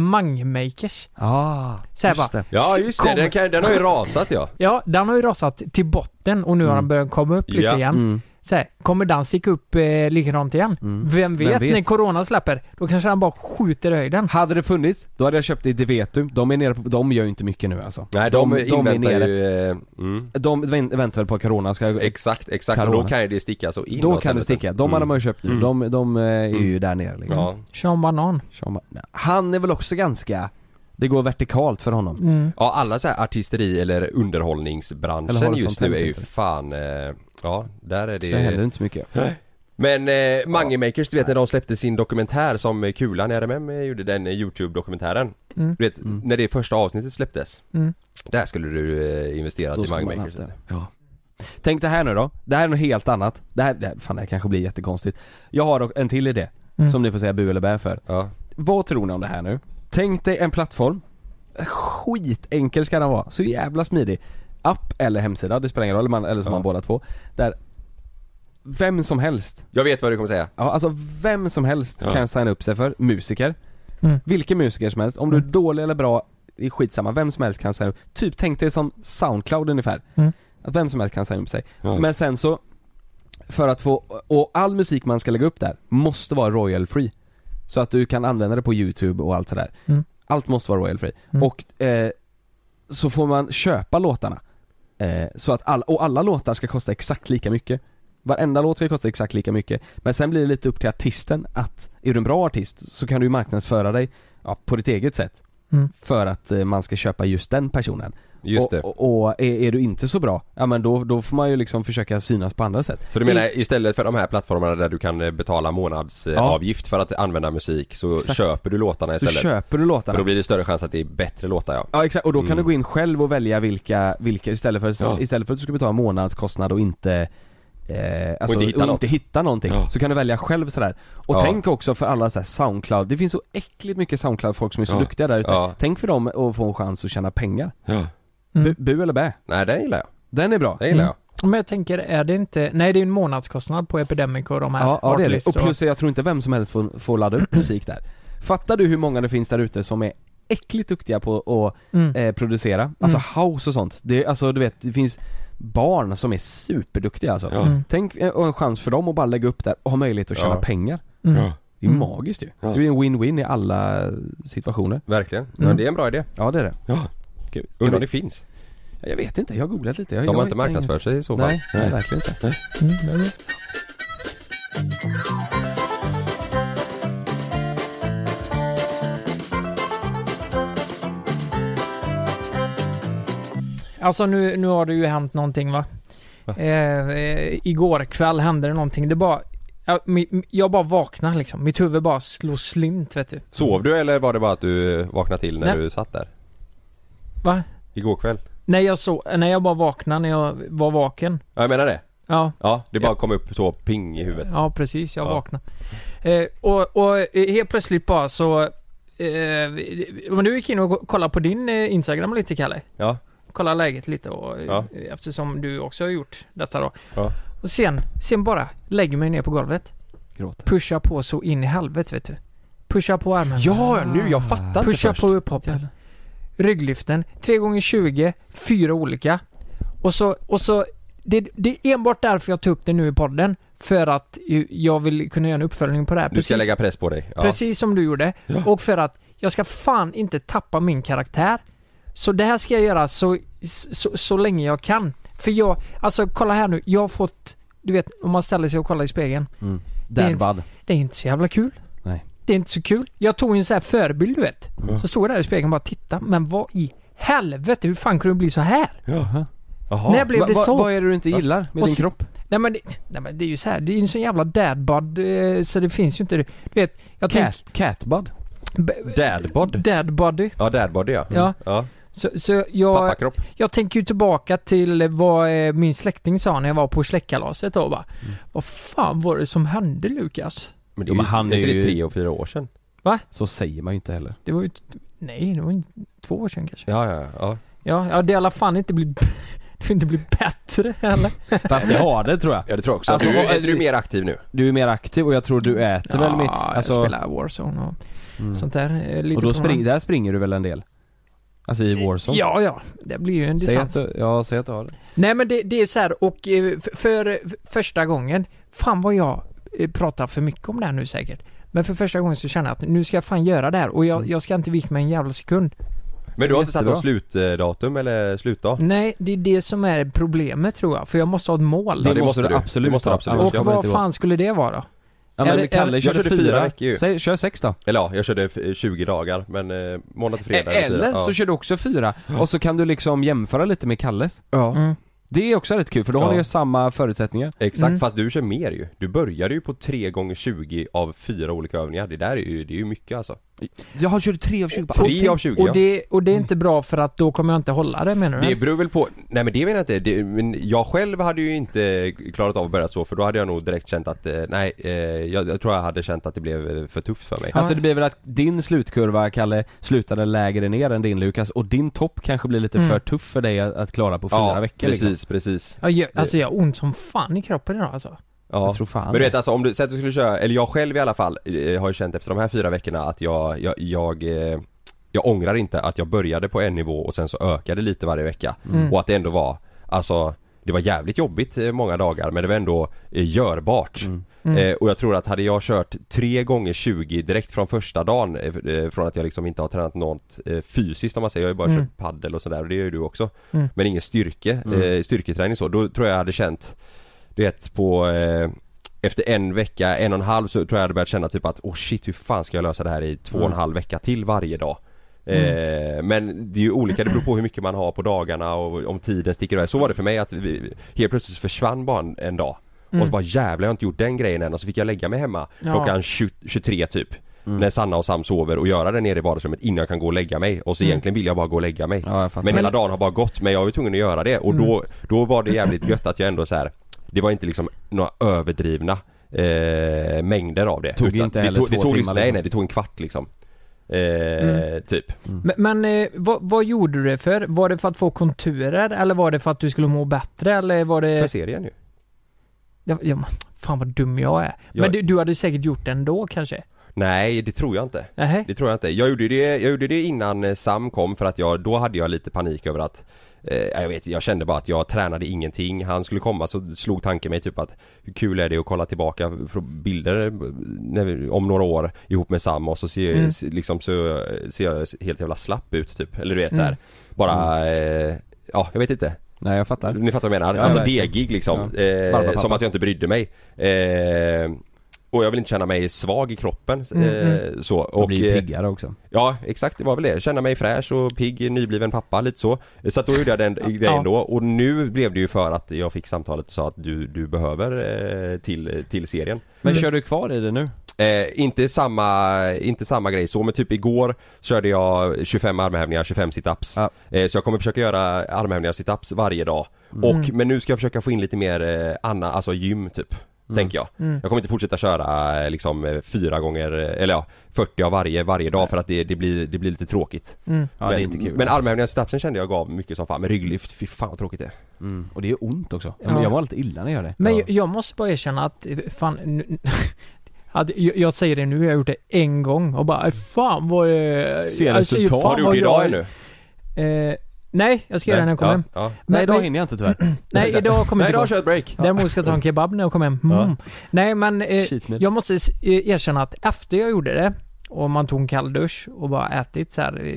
Speaker 3: Mangmakers,
Speaker 2: Ah,
Speaker 3: Så här
Speaker 2: just
Speaker 3: bara.
Speaker 2: det.
Speaker 1: Ja just det,
Speaker 3: Kom.
Speaker 1: den, kan, den har ju rasat ja.
Speaker 3: ja den har ju rasat till botten och nu har den börjat komma upp lite
Speaker 1: Ja.
Speaker 3: igen.
Speaker 2: Mm.
Speaker 3: Så här, kommer den sticka upp eh, likadant igen? Vem, vet,
Speaker 2: Vem vet?
Speaker 3: När corona släpper, då kanske den bara skjuter i höjden.
Speaker 2: Hade det funnits, då hade jag köpt det i Devetum. De är nere på, de gör ju inte mycket nu alltså.
Speaker 1: Nej de, inväntar ju... Eh, mm.
Speaker 2: De vänt- väntar väl på att corona ska gå
Speaker 1: Exakt, exakt. Och då
Speaker 2: Corona.
Speaker 1: kan ju det sticka så inåt.
Speaker 2: Då kan det
Speaker 1: helvete.
Speaker 2: sticka, de hade man ju köpt nu. De, de eh, är ju där nere liksom.
Speaker 1: Mm. Ja.
Speaker 3: Sean Banan.
Speaker 2: Så man- nej. Han är väl också ganska, det går vertikalt för honom.
Speaker 1: ja, alla så här artisteri eller underhållningsbranschen
Speaker 2: Eller har det
Speaker 1: just
Speaker 2: sånt
Speaker 1: nu är ju
Speaker 2: inte.
Speaker 1: fan... Eh, ja, där är det
Speaker 2: Så det händer
Speaker 1: ju...
Speaker 2: inte så mycket.
Speaker 1: Men eh, Mangemakers, du vet när de släppte sin dokumentär som eh, Kulan i RMM eh, gjorde, den eh, YouTube-dokumentären. Du vet,
Speaker 2: Mm.
Speaker 1: när det första avsnittet släpptes.
Speaker 3: Mm.
Speaker 1: Där skulle du eh, investera
Speaker 2: Då
Speaker 1: i
Speaker 2: skulle man haft
Speaker 1: Mangemakers.
Speaker 2: det. Ja. Tänk det här nu då, det här är något helt annat. Det här, det här, fan det här kanske blir jättekonstigt. Jag har en till idé, som ni får säga bu eller bä för.
Speaker 1: Ja.
Speaker 2: Vad tror ni om det här nu? Tänk dig en plattform. Skitenkel ska den vara, så jävla smidig. App eller hemsida, det spelar ingen roll, eller, man, eller som
Speaker 1: Ja.
Speaker 2: man båda två. Där vem som helst
Speaker 1: Jag vet vad du kommer säga.
Speaker 2: Ja, alltså vem som helst
Speaker 1: Ja.
Speaker 2: kan signa upp sig för musiker.
Speaker 3: Mm.
Speaker 2: Vilken musiker som helst, om du är dålig eller bra, det är skitsamma, vem som helst kan signa upp Typ tänk dig som Soundcloud ungefär.
Speaker 3: Mm.
Speaker 2: Att vem som helst kan signa upp sig.
Speaker 1: Ja.
Speaker 2: Men sen så, för att få, och all musik man ska lägga upp där måste vara royal free. Så att du kan använda det på youtube och allt sådär.
Speaker 3: Mm.
Speaker 2: Allt måste vara royal free.
Speaker 3: Mm.
Speaker 2: Och eh, så får man köpa låtarna. Eh, så att alla, och alla låtar ska kosta exakt lika mycket. Varenda låt ska kosta exakt lika mycket. Men sen blir det lite upp till artisten att, är du en bra artist så kan du ju marknadsföra dig ja, på ditt eget sätt.
Speaker 3: Mm.
Speaker 2: För att eh, man ska köpa just den personen.
Speaker 1: Just
Speaker 2: och,
Speaker 1: det.
Speaker 2: Och, och är, är du inte så bra, ja men då, då får man ju liksom försöka synas på andra sätt.
Speaker 1: Så du menar istället för de här plattformarna där du kan eh, betala månadsavgift avgift för att använda musik så
Speaker 2: Exakt.
Speaker 1: köper du låtarna
Speaker 2: Så
Speaker 1: istället?
Speaker 2: köper du
Speaker 1: För
Speaker 2: låtarna.
Speaker 1: då blir det större chans att det är bättre låtar ja.
Speaker 2: Ja exakt, och då kan
Speaker 1: Mm.
Speaker 2: du gå in själv och välja vilka, vilka istället för,
Speaker 1: Ja.
Speaker 2: istället för att du ska betala en månadskostnad och inte Eh, alltså, och
Speaker 1: hitta
Speaker 2: inte,
Speaker 1: något.
Speaker 2: hitta någonting.
Speaker 1: Ja.
Speaker 2: Så kan du välja själv sådär. Och
Speaker 1: Ja.
Speaker 2: tänk också för alla såhär Soundcloud, det finns så äckligt mycket Soundcloud-folk som är så
Speaker 1: Ja.
Speaker 2: duktiga där ute.
Speaker 1: Ja.
Speaker 2: Tänk för dem att få en chans att tjäna pengar.
Speaker 1: ja.
Speaker 3: Mm.
Speaker 2: Bu, bu eller bä?
Speaker 1: Nej den gillar jag.
Speaker 2: Den är bra.
Speaker 1: Den gillar
Speaker 3: Mm. Men jag tänker, är det inte... Nej, det är ju en månadskostnad på Epidemic och de här.
Speaker 2: Ja, ja det är det.
Speaker 3: Artlist
Speaker 2: Och plus jag tror inte vem som helst får, får ladda upp musik där. Fattar du hur många det finns där ute som är äckligt duktiga på att
Speaker 3: Mm.
Speaker 2: eh, producera? Alltså house och sånt. Det, är- alltså du vet, det finns barn som är superduktiga alltså.
Speaker 1: Ja.
Speaker 3: Mm.
Speaker 2: Tänk eh, och en chans för dem att bara lägga upp där och ha möjlighet att tjäna
Speaker 1: Ja.
Speaker 2: pengar.
Speaker 1: jag.
Speaker 3: Mm.
Speaker 2: Det är
Speaker 3: Mm.
Speaker 2: magiskt ju.
Speaker 1: Ja.
Speaker 2: Det blir en win-win i alla situationer.
Speaker 1: Verkligen. Ja,
Speaker 3: Mm.
Speaker 1: det är en bra idé.
Speaker 2: Ja det är det.
Speaker 1: Ja.
Speaker 2: Gud, ska
Speaker 1: Undrar om
Speaker 2: vi-
Speaker 1: det finns.
Speaker 2: Jag vet inte, jag har googlat lite. Jag,
Speaker 1: De
Speaker 2: jag
Speaker 1: har inte
Speaker 2: hittar
Speaker 1: marknadsfört
Speaker 2: inget.
Speaker 1: sig i så fall.
Speaker 2: Nej, nej, verkligen inte.
Speaker 3: Mm. Alltså nu, nu har det ju hänt någonting va?
Speaker 1: Va?
Speaker 3: Eh, eh, igår kväll hände det någonting. Det bara... Jag, mi- jag bara vaknar liksom. Mitt huvud bara slår slint vet du.
Speaker 1: Sov du eller var det bara att du eh, vaknade till när
Speaker 3: Nej.
Speaker 1: du satt där?
Speaker 3: Va?
Speaker 1: Igår kväll?
Speaker 3: Nej jag så, nej jag bara vaknade när jag var vaken.
Speaker 1: Ja jag menar det.
Speaker 3: Ja,
Speaker 1: Ja, det bara
Speaker 3: Ja.
Speaker 1: kom upp så ping i huvudet.
Speaker 3: ja precis. Jag
Speaker 1: Ja.
Speaker 3: vaknade. Eh, och, och eh, helt plötsligt bara så... Eh, men du gick in och kollade på din eh, Instagram lite Kalle.
Speaker 1: Ja.
Speaker 3: Kolla läget lite och, eh,
Speaker 1: Ja.
Speaker 3: eftersom du också har gjort detta då.
Speaker 1: Ja.
Speaker 3: Och sen, sen bara lägger mig ner på golvet.
Speaker 2: Gråt.
Speaker 3: Pusha på så in i halvet vet du. Pusha på armen.
Speaker 1: Ja, nu jag fattar inte
Speaker 3: Pusha
Speaker 1: först.
Speaker 3: Ah. på upphoppen. Rygglyften, 3x20, fyra olika. Och så, och så det, det är enbart därför jag tar upp det nu i podden. För att ju- jag vill kunna göra en uppföljning på det här.
Speaker 1: Du ska lägga press på dig. Ja.
Speaker 3: precis som du gjorde. Och för att jag ska fan inte tappa min karaktär. Så det här ska jag göra så, så, så länge jag kan. För jag, alltså kolla här nu, jag har fått, du vet om man ställer sig och kollar i spegeln. Det är inte-
Speaker 2: Därbad.
Speaker 3: Det är inte så jävla kul.
Speaker 2: Nej.
Speaker 3: Det är inte så kul. Jag tog en sån här förebild du vet. Så stod jag där i spegeln och bara titta. Men vad i helvete, hur fan kunde det bli så här?
Speaker 2: Jaha. Jaha.
Speaker 3: När blev
Speaker 2: Va-
Speaker 3: det
Speaker 2: va-
Speaker 3: så?
Speaker 2: Vad är det du inte
Speaker 1: Va?
Speaker 2: gillar med
Speaker 3: Och
Speaker 2: din
Speaker 3: s-
Speaker 2: kropp?
Speaker 3: Nej men, det, nej men det är ju så här. det är ju en sån jävla dadbod eh, så det finns ju inte. Du vet, jag tänker...
Speaker 2: Cat, catbud?
Speaker 3: b-
Speaker 1: Dadbod?
Speaker 3: Dadbody.
Speaker 1: Ja, dadbody ja. Mm.
Speaker 3: Ja.
Speaker 1: ja.
Speaker 3: Så, så jag,
Speaker 1: Pappakropp.
Speaker 3: jag tänker ju tillbaka till vad eh, min släkting sa när jag var på släktkalaset då bara.
Speaker 2: Mm.
Speaker 3: Vad fan var det som hände Lukas?
Speaker 1: Men
Speaker 2: Jo, men han är
Speaker 1: inte
Speaker 2: ju-
Speaker 1: det tre och fyra år sedan?
Speaker 2: Så säger man ju inte heller.
Speaker 3: Det var ju... t- Nej, det var ju två år sedan kanske.
Speaker 1: Ja, ja, ja.
Speaker 3: Ja, ja det har i alla fall inte blivit... Det har inte blivit bättre heller.
Speaker 2: Fast det har det tror jag.
Speaker 1: Ja det tror jag också.
Speaker 2: Alltså,
Speaker 1: du,
Speaker 2: vad-
Speaker 1: är du mer aktiv nu?
Speaker 2: Du är mer aktiv och jag tror du äter
Speaker 3: Ja,
Speaker 2: väl mer.
Speaker 3: jag
Speaker 2: Alltså,
Speaker 3: spelar Warzone och
Speaker 2: mm.
Speaker 3: sånt där. eh, Lite
Speaker 2: Och då
Speaker 3: på
Speaker 2: spring,
Speaker 3: morgonen.
Speaker 2: där springer du väl en del? Alltså i Warzone?
Speaker 3: Ja, ja. Det blir ju en
Speaker 2: Säg att
Speaker 3: distans.
Speaker 2: du, ja, säg att du har det.
Speaker 3: Nej men det, det är så här och eh, f- för för första gången, fan vad jag eh, pratar för mycket om det här nu säkert. Men för första gången så känner jag att nu ska jag fan göra det här och
Speaker 2: Mm.
Speaker 3: jag, jag ska inte vika mig en jävla sekund.
Speaker 1: Men du har inte satt
Speaker 2: Jättebra.
Speaker 1: något slutdatum eller slutdag?
Speaker 3: Nej, det är det som är problemet tror jag, för jag måste ha ett mål.
Speaker 1: Ja, det
Speaker 2: måste
Speaker 1: måste
Speaker 2: du
Speaker 1: du.
Speaker 2: absolut
Speaker 1: Det måste du
Speaker 2: ha.
Speaker 1: absolut.
Speaker 2: Annars
Speaker 1: jag
Speaker 3: och
Speaker 1: ska
Speaker 2: kommer det
Speaker 3: vad
Speaker 2: inte gå.
Speaker 3: fan skulle det vara då?
Speaker 2: Ja, men
Speaker 3: Är det- är
Speaker 2: Kalle
Speaker 3: det-
Speaker 1: Jag
Speaker 2: körde
Speaker 1: körde fyra
Speaker 2: fyra.
Speaker 1: veckor ju.
Speaker 2: Säg, kör sex då.
Speaker 1: Eller ja, jag körde eh, 20 dagar men eh, måndag till fredag är det fyra.
Speaker 2: Eller
Speaker 1: ja.
Speaker 2: så kör du också fyra. Och så kan du liksom jämföra lite med Kalles.
Speaker 1: Ja.
Speaker 3: Mm.
Speaker 2: Det är också rätt kul för då har
Speaker 1: Ja.
Speaker 2: ni ju samma förutsättningar.
Speaker 1: Exakt,
Speaker 3: Mm.
Speaker 1: fast du kör mer ju. Du började ju på 3 gånger 20 av fyra olika övningar. Det där är ju, det är ju mycket alltså.
Speaker 2: Jag har kört tre av Mm. 20
Speaker 1: 3 av 20
Speaker 3: Och,
Speaker 1: ja.
Speaker 3: det, och det är inte bra för att då kommer jag inte hålla det menar du?
Speaker 1: Det beror väl på, nej men det vet jag inte. Det, men jag själv hade ju inte klarat av att börja så för då hade jag nog direkt känt att, eh, nej, eh, jag, jag tror jag hade känt att det blev eh, för tufft för mig.
Speaker 2: Alltså det blir väl att din slutkurva Kalle slutade lägre ner än din Lukas och din topp kanske blir lite
Speaker 3: Mm.
Speaker 2: för tuff för dig att, att klara på fyra veckor
Speaker 1: precis,
Speaker 2: liksom.
Speaker 1: precis.
Speaker 3: Ja, jag, alltså jag har ont som fan i kroppen idag alltså.
Speaker 1: Ja.
Speaker 2: Jag tror fan
Speaker 1: Men du vet
Speaker 2: det.
Speaker 1: alltså om du, säg att du skulle köra, eller jag själv i alla fall eh, har ju känt efter de här fyra veckorna att jag, jag, jag eh, jag ångrar inte att jag började på en nivå och sen så ökade lite varje vecka.
Speaker 3: Mm.
Speaker 1: Och att det ändå var, alltså det var jävligt jobbigt eh, många dagar men det var ändå eh, görbart.
Speaker 3: Mm.
Speaker 1: Eh, och jag tror att hade jag kört tre gånger 20 direkt från första dagen eh, f- eh, Från att jag liksom inte har tränat något eh, fysiskt om man säger, jag har ju bara
Speaker 3: Mm.
Speaker 1: kört paddel och sådär och det gör ju du också
Speaker 3: Mm.
Speaker 1: Men ingen styrke, eh, styrketräning så, då tror jag jag hade känt Du vet på eh, Efter en vecka, en och en halv så tror jag jag hade börjat känna typ att oh shit hur fan ska jag lösa det här i två och en
Speaker 2: Mm.
Speaker 1: halv vecka till varje dag Eh, men det är ju olika, det beror på hur mycket man har på dagarna och om tiden sticker iväg. Så var det för mig att vi, helt plötsligt försvann bara en, en dag. Och så bara jävlar jag har inte gjort den grejen än och så fick jag lägga mig hemma
Speaker 3: Ja.
Speaker 1: klockan 20, 23 typ. När Sanna och Sam sover och göra det nere i vardagsrummet innan jag kan gå och lägga mig. Och så egentligen vill jag bara gå och lägga mig.
Speaker 2: Ja, jag fattar.
Speaker 1: men hela
Speaker 3: Men-
Speaker 1: dagen har bara gått men jag var ju tvungen att göra det och då,
Speaker 2: Mm.
Speaker 1: då var det jävligt gött att jag ändå så här. Det var inte liksom några överdrivna eh, mängder av det.
Speaker 2: Tog ju inte
Speaker 1: det
Speaker 2: heller
Speaker 1: tog, det
Speaker 2: två
Speaker 1: tog, liksom-
Speaker 2: timmar,
Speaker 1: Nej
Speaker 2: liksom. Mm.
Speaker 1: nej, det tog en kvart liksom. Eh, Typ.
Speaker 3: Men, men eh, vad, vad gjorde du det för? Var det för att få konturer eller var det för att du skulle må bättre eller var
Speaker 2: Eh,
Speaker 3: det...
Speaker 1: För serien ju.
Speaker 3: Ja, ja, men fan vad dum jag är.
Speaker 1: Jag-
Speaker 3: Men du, du hade säkert gjort det ändå kanske?
Speaker 1: Nej, det tror jag inte.
Speaker 3: Nähä?
Speaker 1: Det tror jag inte. Jag gjorde det, jag gjorde det innan eh, Sam kom för att jag, då hade jag lite panik över att eh, Jag vet jag kände bara att jag tränade ingenting. Han skulle komma så slog tanken mig typ att Hur kul är det att kolla tillbaka på bilder eh, när vi, om några år ihop med Sam och så ser,
Speaker 3: Mm.
Speaker 1: se- liksom, så, eh, ser jag helt jävla slapp ut typ. Eller du vet så här.
Speaker 3: Mm.
Speaker 1: Bara eh, Ja, jag vet inte.
Speaker 2: Nej jag fattar.
Speaker 1: Ni fattar vad jag menar.
Speaker 2: Mm. Ja,
Speaker 1: alltså
Speaker 2: verkligen.
Speaker 1: degig liksom.
Speaker 2: Ja.
Speaker 1: Eh,
Speaker 2: Barbapapa.
Speaker 1: som att jag inte brydde mig. Eh, och jag vill inte känna mig svag i kroppen. Eh, Så.
Speaker 2: Och
Speaker 1: Och,
Speaker 2: Mm, blir ju
Speaker 1: eh,
Speaker 2: piggare också.
Speaker 1: Ja, exakt det var väl det. Känna mig fräsch och pigg, nybliven pappa lite så. Så att då gjorde jag den grejen då och nu blev det ju för att jag fick samtalet och sa att du, du behöver eh, till, till serien.
Speaker 2: Men kör du kvar i det nu?
Speaker 1: Eh, inte, samma, inte samma grej så men typ igår körde jag 25 armhävningar, 25 situps.
Speaker 2: Ja.
Speaker 1: Eh, så jag kommer försöka göra armhävningar och situps varje dag. Och, men nu ska jag försöka få in lite mer eh, Anna, alltså gym typ. Tänker jag.
Speaker 3: Mm,
Speaker 1: Jag kommer inte fortsätta köra eh, liksom eh, fyra gånger, eh, eller ja, 40 av varje, varje dag för att det, det, blir, det blir lite tråkigt.
Speaker 3: mm.
Speaker 2: Ja
Speaker 1: men,
Speaker 2: det är inte kul.
Speaker 1: Men armhävningar och situpsen kände jag gav mycket som fan. Men rygglyft, fy fan vad tråkigt det är.
Speaker 2: Mm. Och det gör ont också.
Speaker 3: Ja.
Speaker 2: Men Jag mår lite illa när jag gör det.
Speaker 3: Men
Speaker 2: ja.
Speaker 3: jag, jag måste bara erkänna att, eh, fan, nu, att jag, jag säger det nu, jag har gjort det en gång och bara, fan vad... eh,
Speaker 2: Ser
Speaker 3: alltså,
Speaker 2: resultat.
Speaker 3: fan
Speaker 1: Har du gjort
Speaker 3: vad
Speaker 1: det idag
Speaker 3: jag-
Speaker 1: ännu?
Speaker 3: Eh, nej, jag ska göra det när jag kommer
Speaker 1: ja,
Speaker 3: hem.
Speaker 1: ja.
Speaker 2: Nej
Speaker 3: Men-
Speaker 2: idag
Speaker 3: men-
Speaker 2: hinner jag inte tyvärr.
Speaker 3: Nej, idag kommer
Speaker 1: Nej,
Speaker 3: jag inte
Speaker 1: idag
Speaker 3: gå.
Speaker 1: kör jag ett break.
Speaker 3: Däremot ska jag ta en kebab när jag kommer hem. Mm.
Speaker 2: Ja.
Speaker 3: Nej men eh,
Speaker 2: Cheat meal.
Speaker 3: jag måste s- eh, erkänna att efter jag gjorde det och man tog en kall dusch och bara ätit så här. eh,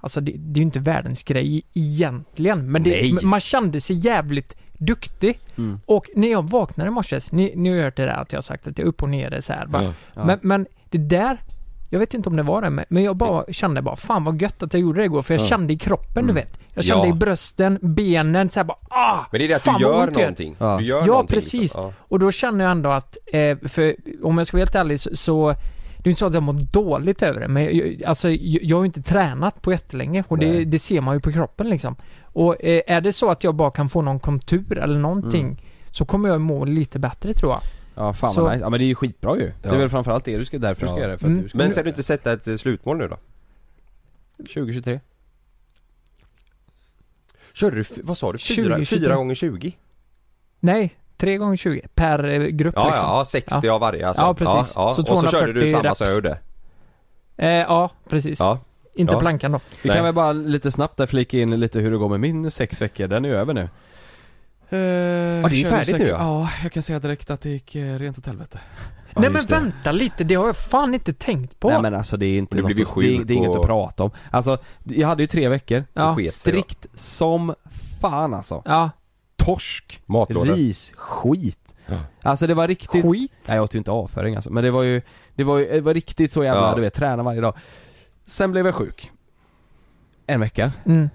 Speaker 3: Alltså det, det är ju inte världens grej egentligen. Men det,
Speaker 1: Nej.
Speaker 3: m- man kände sig jävligt duktig.
Speaker 2: Mm.
Speaker 3: Och när jag vaknade i morse, ni, ni har hört det där att jag har sagt att jag är upp och ner så här. Bara,
Speaker 1: Ja.
Speaker 2: Ja.
Speaker 3: Men, men det där Jag vet inte om det var det, men- men jag bara kände bara fan vad gött att jag gjorde det igår. För jag
Speaker 2: Ja.
Speaker 3: kände i kroppen du vet. Jag kände
Speaker 1: Mm. Ja.
Speaker 3: i brösten, benen såhär bara ah!
Speaker 1: Men det är det att du
Speaker 3: fan, vad
Speaker 1: gör
Speaker 3: ont det gör.
Speaker 1: någonting.
Speaker 2: Ja.
Speaker 1: Du gör
Speaker 3: Ja,
Speaker 1: någonting,
Speaker 3: precis.
Speaker 1: liksom. Ja.
Speaker 3: Och då känner jag ändå att, eh, för om jag ska vara helt ärlig så, så det är inte så att jag mår dåligt över det, men jag, alltså, jag, jag har ju inte tränat på jättelänge och det,
Speaker 2: Nej.
Speaker 3: det ser man ju på kroppen liksom. Och eh, är det så att jag bara kan få någon kontur eller någonting
Speaker 1: Mm.
Speaker 3: så kommer jag må lite bättre tror jag.
Speaker 2: Ja fan
Speaker 3: Så-
Speaker 2: vad nice. Ja men det är ju skitbra ju. Det
Speaker 1: Ja.
Speaker 2: är väl framförallt det du ska, därför du ska
Speaker 1: Ja.
Speaker 2: göra det. För att
Speaker 3: Mm.
Speaker 2: du ska
Speaker 1: Men
Speaker 2: göra
Speaker 1: ska du
Speaker 2: det.
Speaker 1: inte sätta ett eh, slutmål nu då?
Speaker 2: 2023.
Speaker 1: Körde du, f- vad sa du? Fyra,
Speaker 3: 20, 23.
Speaker 1: fyra gånger 20?
Speaker 3: Nej, 3 gånger 20 per eh, grupp
Speaker 1: Ja,
Speaker 3: liksom.
Speaker 1: ja, ja, 60 av varje alltså.
Speaker 3: Ja, precis.
Speaker 1: Ja, ja.
Speaker 3: Så
Speaker 1: och så körde du
Speaker 3: 240
Speaker 1: samma
Speaker 3: reps.
Speaker 1: som jag gjorde.
Speaker 3: Eh, ja, precis.
Speaker 1: Ja.
Speaker 3: Inte
Speaker 1: Ja.
Speaker 3: plankan då.
Speaker 2: Vi
Speaker 1: Nej.
Speaker 2: kan väl bara lite snabbt där flika in lite hur det går med min sex veckor, den är ju över nu. Eh, Ja det
Speaker 1: ju färdigt nu, ja.
Speaker 2: Ja, jag kan säga direkt att det gick eh, rent åt helvete.
Speaker 1: Ja,
Speaker 3: Nej men
Speaker 1: just det.
Speaker 3: vänta lite, det har jag fan inte tänkt på.
Speaker 2: Nej men alltså det är inte
Speaker 1: Du
Speaker 2: något,
Speaker 1: blev ju
Speaker 2: att- det, är-
Speaker 1: sjuk
Speaker 2: det är inget
Speaker 1: och-
Speaker 2: att prata om. Alltså, jag hade ju tre veckor.
Speaker 3: ja.
Speaker 1: sket sig, va?
Speaker 2: Strikt som fan alltså.
Speaker 3: ja.
Speaker 2: Torsk,
Speaker 1: Matlådor.
Speaker 2: ris, skit.
Speaker 1: Ja.
Speaker 2: Alltså det var riktigt...
Speaker 3: Skit.
Speaker 2: Nej jag åt ju inte avföring alltså, men det var ju, det var, ju, det var riktigt så jävla,
Speaker 1: Ja.
Speaker 2: du vet, träna varje dag. Sen blev jag sjuk. En vecka.
Speaker 3: Mm.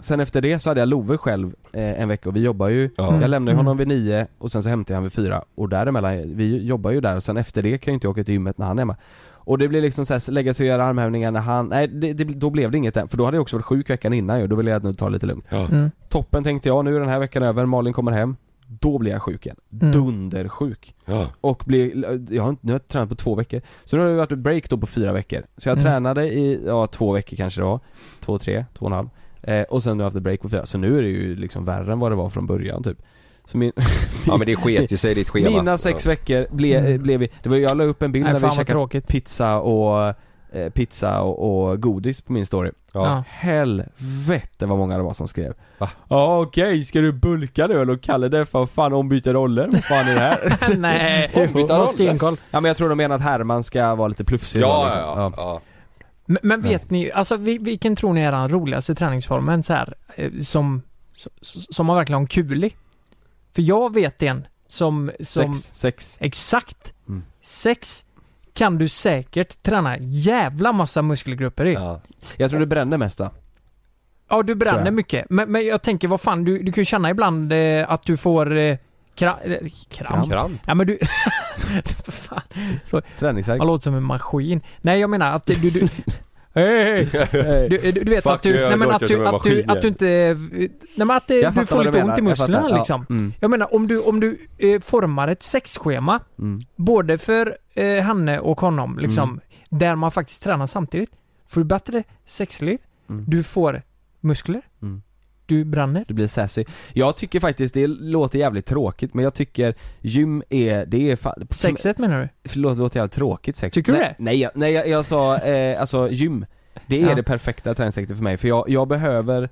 Speaker 2: Sen efter det så hade jag Love själv eh, en vecka och vi jobbar ju,
Speaker 1: Ja.
Speaker 2: jag lämnade ju
Speaker 3: Mm.
Speaker 2: honom vid nio och sen så hämtade jag honom vid fyra och däremellan, vi jobbar ju där och sen efter det kan jag inte åka till gymmet när han är hemma. Och det blir liksom såhär, lägga sig och göra armhävningar när han, nej det, det, då blev det inget än, för då hade jag också varit sjuk veckan innan ju, då ville jag nog ta det lite lugnt.
Speaker 3: Mm.
Speaker 2: Toppen tänkte jag, nu är den här veckan över, Malin kommer hem, då blir jag sjuk igen.
Speaker 3: Mm.
Speaker 2: Dundersjuk.
Speaker 1: Ja.
Speaker 2: Och blir, jag har inte, nu har jag tränat på två veckor. Så nu har det varit ett break då på fyra veckor. Så jag
Speaker 3: Mm.
Speaker 2: tränade i, ja två veckor kanske det var. Två, tre, två och en halv. Eh, och sen nu har jag haft ett break på fyra. Så nu är det ju liksom värre än vad det var från början typ. Så min,
Speaker 1: ja, men det sket ju sig i ditt schema.
Speaker 2: mina sex
Speaker 1: ja.
Speaker 2: veckor blev,
Speaker 3: Mm.
Speaker 2: blev vi, det var jag la upp en bild
Speaker 3: Nej
Speaker 2: när vi
Speaker 3: fan vad
Speaker 2: käkade
Speaker 3: tråkigt.
Speaker 2: pizza och, eh, pizza och, och godis på min story.
Speaker 1: Ja.
Speaker 2: Helvete vad många det var som skrev.
Speaker 1: Va?
Speaker 2: Ja okej, ska du bulka nu eller? Kalle det för fan ombyta roller, vad fan är det här?
Speaker 3: Nej,
Speaker 1: Ombyta roller.
Speaker 3: vad stenkoll.
Speaker 2: Ja men jag tror de menar att Herman ska vara lite plufsig idag,
Speaker 1: Ja,
Speaker 2: liksom.
Speaker 1: ja, ja, ja.
Speaker 3: Men, men vet ni, alltså vi- vilken tror ni är den roligaste träningsformen så här, eh, som, som, som man verkligen har kul i? För jag vet en som, som
Speaker 2: Sex, sex.
Speaker 3: exakt
Speaker 2: Mm.
Speaker 3: sex kan du säkert träna jävla massa muskelgrupper i. Ja,
Speaker 1: ja.
Speaker 2: Jag tror det brände mest va?
Speaker 3: du
Speaker 2: Så
Speaker 3: bränner
Speaker 2: är.
Speaker 3: mycket. Men, men jag tänker vad fan, du, du kan ju känna ibland eh, att du får eh, kra, eh, kramp.
Speaker 1: Kramp.
Speaker 3: Ja men du...
Speaker 2: Träningsvärk.
Speaker 3: Man låter som en maskin. Nej jag menar att du... du, du Hej, hej. Du, du, du vet
Speaker 1: Fuck
Speaker 3: att du,
Speaker 1: you, jag
Speaker 3: nej, men
Speaker 1: låter
Speaker 3: att
Speaker 1: som en
Speaker 3: du, att du,
Speaker 1: maskin.
Speaker 3: att du inte, eh, nej men att eh,
Speaker 2: Jag
Speaker 3: du
Speaker 2: fattar
Speaker 3: får
Speaker 2: vad
Speaker 3: lite
Speaker 2: menar,
Speaker 3: ont i
Speaker 2: jag
Speaker 3: musklerna
Speaker 2: fattar. Ja,
Speaker 3: liksom.
Speaker 2: mm,
Speaker 3: Jag menar om du, om du eh, formar ett sexschema,
Speaker 2: mm.
Speaker 3: både för eh, Hanne och honom liksom, där man faktiskt tränar samtidigt, får du bättre sexliv,
Speaker 2: Mm.
Speaker 3: du får muskler,
Speaker 2: Mm.
Speaker 3: du bränner.
Speaker 2: Du blir sassy. Jag tycker faktiskt, det låter jävligt tråkigt men jag tycker gym är, det är fan...
Speaker 3: Sexet menar du?
Speaker 2: Förlåt, det låter jävligt tråkigt sex.
Speaker 3: Tycker du
Speaker 2: nej,
Speaker 3: det?
Speaker 2: Nej, jag, nej jag, jag sa, eh, alltså gym. Det är
Speaker 3: Ja.
Speaker 2: det perfekta träningssättet för mig för jag, jag behöver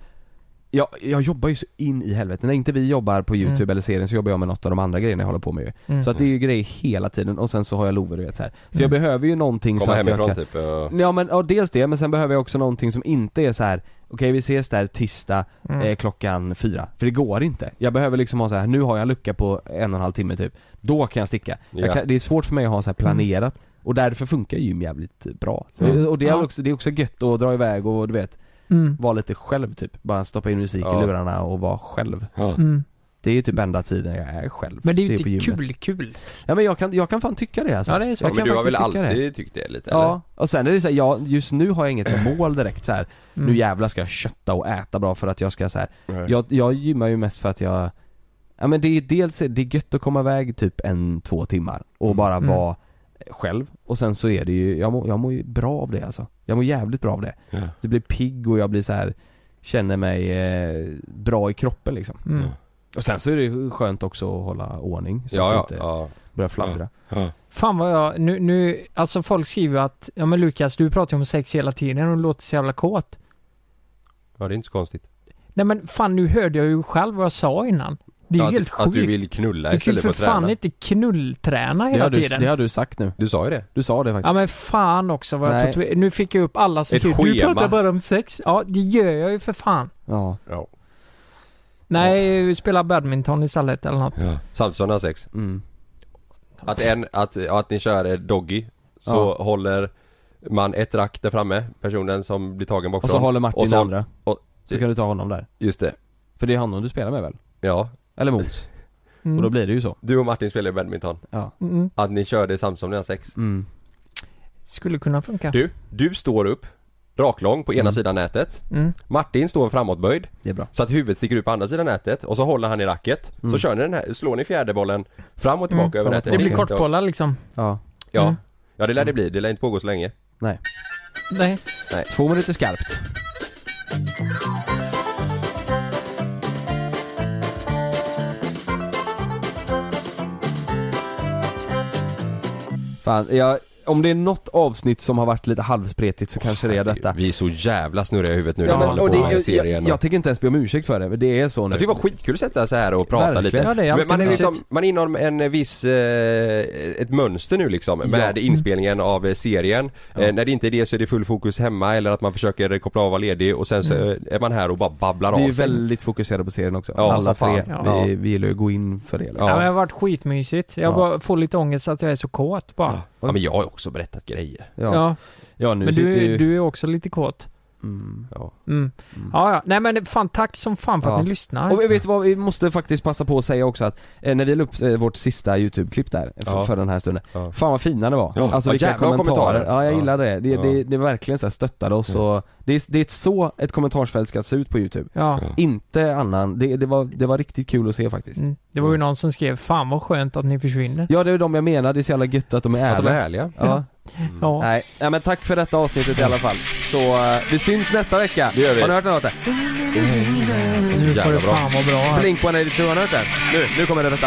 Speaker 2: jag, jag jobbar ju så in i helvete, när inte vi jobbar på youtube
Speaker 3: Mm.
Speaker 2: eller serien så jobbar jag med något av de andra grejerna jag håller på med ju.
Speaker 3: Mm.
Speaker 2: Så att det är ju grejer hela tiden och sen så har jag Love du vet så här. Så jag
Speaker 3: Mm.
Speaker 2: behöver ju någonting så
Speaker 1: Komma
Speaker 2: att jag
Speaker 1: hemifrån
Speaker 2: kan...
Speaker 1: typ. Ja.
Speaker 2: Ja men ja, dels det, men sen behöver jag också någonting som inte är så här. okej vi ses där tisdag
Speaker 3: Mm.
Speaker 2: eh, klockan fyra. För det går inte. Jag behöver liksom ha så här. nu har jag en lucka på en och en halv timme typ. Då kan jag sticka.
Speaker 1: Ja.
Speaker 2: Jag kan, det är svårt för mig att ha så här
Speaker 3: Mm.
Speaker 2: planerat. Och därför funkar gym jävligt eh, bra.
Speaker 1: Ja.
Speaker 2: Det- Och det är,
Speaker 3: Ja.
Speaker 2: också, det är också gött att dra iväg och du vet,
Speaker 3: Mm.
Speaker 2: vara lite själv typ. Bara stoppa in musik
Speaker 1: Ja.
Speaker 2: i lurarna och vara själv.
Speaker 1: Ja.
Speaker 3: Mm.
Speaker 2: Det är typ enda tiden jag är själv.
Speaker 3: Men det är ju
Speaker 2: på
Speaker 3: inte
Speaker 2: gymmet.
Speaker 3: kul-kul.
Speaker 2: Ja men jag kan, jag kan fan tycka det alltså.
Speaker 3: Ja, det är så.
Speaker 2: Jag
Speaker 1: Ja,
Speaker 2: kan
Speaker 1: men du har väl
Speaker 2: faktiskt tycka det.
Speaker 1: alltid tyckt det lite?
Speaker 2: Ja, och sen är det så här, ja, just nu har jag inget mål direkt så här.
Speaker 3: Mm.
Speaker 2: nu jävlar ska jag kötta och äta bra för att jag ska så här.
Speaker 1: eller?
Speaker 2: Jag, jag gymmar ju mest för att jag Ja men det är dels, det är gött att komma iväg typ en, två timmar och
Speaker 1: Mm.
Speaker 2: bara
Speaker 3: Mm.
Speaker 2: vara själv och sen så är det ju, jag mår, jag mår ju bra av det alltså. Jag mår jävligt bra av det.
Speaker 1: Ja.
Speaker 2: Det blir pigg och jag blir så här känner mig eh, bra i kroppen liksom.
Speaker 3: Mm.
Speaker 2: Och sen så är det ju skönt också att hålla ordning så
Speaker 1: Ja,
Speaker 2: att
Speaker 1: ja,
Speaker 2: det inte
Speaker 1: ja.
Speaker 2: börjar fladdra.
Speaker 1: ja.
Speaker 3: Fan vad jag, nu, nu, alltså folk skriver ju att, ja men Lukas du pratar ju om sex hela tiden och låter så jävla kåt.
Speaker 1: Ja, det är inte så konstigt.
Speaker 3: Nej men fan nu hörde jag ju själv vad jag sa innan. Det är
Speaker 1: att,
Speaker 3: ju helt
Speaker 1: att
Speaker 3: sjukt.
Speaker 1: du vill knulla
Speaker 3: Du kan ju
Speaker 1: istället för
Speaker 3: för
Speaker 1: att träna.
Speaker 3: fan inte knullträna
Speaker 2: Det,
Speaker 3: hela
Speaker 2: har du,
Speaker 3: tiden.
Speaker 2: det har du sagt nu.
Speaker 1: Du sa ju det.
Speaker 2: Du sa det faktiskt.
Speaker 3: Ja men fan också vad jag
Speaker 2: Nej.
Speaker 3: tatuer... Nu fick jag upp alla som
Speaker 1: Ett
Speaker 3: skriver, du
Speaker 1: schema.
Speaker 3: pratar bara om sex. Ja det gör jag ju för fan.
Speaker 2: Ja.
Speaker 1: Ja.
Speaker 3: Nej, spela badminton istället eller något.
Speaker 1: Samtidigt som ni har sex.
Speaker 2: Mm.
Speaker 1: Att en, att, att ni kör eh, doggy, så håller man ett rack där framme, personen som blir tagen
Speaker 2: Och
Speaker 1: bakifrån.
Speaker 2: så håller Martin
Speaker 1: och så-
Speaker 2: andra.
Speaker 1: och-
Speaker 2: så kan du ta honom där.
Speaker 1: Just det.
Speaker 2: För det är honom du spelar med väl?
Speaker 1: Ja.
Speaker 2: Eller mot?
Speaker 3: Mm.
Speaker 2: Och då blir det ju så.
Speaker 1: Du och Martin spelar ju badminton.
Speaker 2: Ja.
Speaker 3: Mm.
Speaker 1: Att ni körde Samson när jag sex.
Speaker 2: Mm.
Speaker 3: Skulle kunna funka.
Speaker 1: Du, du står upp, raklång på ena
Speaker 2: Mm.
Speaker 1: sidan nätet.
Speaker 3: Mm.
Speaker 1: Martin står framåtböjd.
Speaker 2: Det är bra.
Speaker 1: Så att huvudet sticker ut på andra sidan nätet och så håller han i racket.
Speaker 2: Mm.
Speaker 1: Så kör ni den här, slår ni fjärdebollen fram och tillbaka
Speaker 3: Mm,
Speaker 1: över
Speaker 2: fram och
Speaker 1: nätet.
Speaker 3: Det blir
Speaker 2: Okej.
Speaker 3: kortbollar liksom.
Speaker 2: Ja.
Speaker 1: Ja.
Speaker 3: Mm.
Speaker 1: Ja det lär det bli, det lär inte pågå så länge.
Speaker 3: Nej.
Speaker 2: Två minuter skarpt. Fan, jag, om det är något avsnitt som har varit lite halvspretigt så kanske det är detta.
Speaker 1: Vi är så jävla snurriga i huvudet nu
Speaker 3: Ja,
Speaker 1: när vi
Speaker 3: men-
Speaker 1: håller
Speaker 2: och
Speaker 1: på
Speaker 2: det,
Speaker 1: med
Speaker 2: jag, jag,
Speaker 1: serien.
Speaker 2: jag,
Speaker 1: och- Jag,
Speaker 2: tänker inte ens be om ursäkt för det, men det är så nu.
Speaker 1: tycker det var skitkul att sätta sig här och prata
Speaker 2: Verkligen.
Speaker 1: lite.
Speaker 3: Ja, det
Speaker 1: men
Speaker 3: är alltid
Speaker 1: man, är
Speaker 3: mysigt.
Speaker 1: liksom, man är inom en viss, eh, ett mönster nu liksom med inspelningen av eh, serien. Eh, när det inte är det så är det full fokus hemma eller att man försöker koppla av och vara ledig och sen så eh, är man här och bara babblar
Speaker 2: vi Mm. är
Speaker 1: av
Speaker 2: ju
Speaker 1: sig.
Speaker 2: väldigt fokuserade på serien också.
Speaker 1: Ja,
Speaker 2: Alla
Speaker 1: som fan.
Speaker 2: tre.
Speaker 3: Ja.
Speaker 2: Vi, vi gillar ju att gå in för det. liksom.
Speaker 3: Ja.
Speaker 1: Ja.
Speaker 3: men det har varit skitmysigt. Jag
Speaker 2: Ja.
Speaker 3: bara får lite ångest att jag är så kåt bara.
Speaker 1: Ja men jag har ju också berättat grejer.
Speaker 3: Ja.
Speaker 2: Ja. Ja, nu
Speaker 3: Men
Speaker 2: sitter
Speaker 3: du,
Speaker 2: ju...
Speaker 3: du är också lite kåt.
Speaker 2: Mm.
Speaker 1: Ja.
Speaker 3: Mm. Ja, ja. Nej men fan tack som fan för att
Speaker 2: Ja.
Speaker 3: ni lyssnar.
Speaker 2: Och vi- vet du vad, vi måste faktiskt passa på att säga också att eh, när vi la upp eh, vårt sista YouTube-klipp där för,
Speaker 1: Ja.
Speaker 2: för den här stunden
Speaker 1: Ja.
Speaker 2: Fan vad fina det var.
Speaker 1: Ja.
Speaker 2: Alltså
Speaker 1: Ja,
Speaker 2: vilka
Speaker 1: jävlar vad
Speaker 2: kommentarer.
Speaker 1: kommentarer.
Speaker 2: Ja jag
Speaker 1: Ja.
Speaker 2: gillade det. Det,
Speaker 1: Ja. Mm.
Speaker 2: det, det verkligen så här stöttade oss
Speaker 1: Ja.
Speaker 2: och det är, det är så ett kommentarsfält ska se ut på YouTube.
Speaker 3: Ja.
Speaker 2: Inte annan, det, det, var, det var riktigt kul att se faktiskt.
Speaker 3: Mm. Det var ju någon som skrev 'Fan vad skönt att ni försvinner'
Speaker 2: Ja det är de jag menar, det är så jävla gött att de är
Speaker 1: Att de är
Speaker 2: ärliga.
Speaker 1: härliga.
Speaker 2: Ja.
Speaker 3: Ja.
Speaker 2: Nej. Nej men tack för detta avsnittet i alla fall. Så eh, vi syns nästa vecka.
Speaker 1: Det gör vi.
Speaker 2: Har ni hört något?
Speaker 3: Nu får
Speaker 1: Jävla
Speaker 3: det
Speaker 1: bra.
Speaker 3: fan vara bra alltså.
Speaker 2: Blink på en har ni hört det? Nu, nu kommer det detta.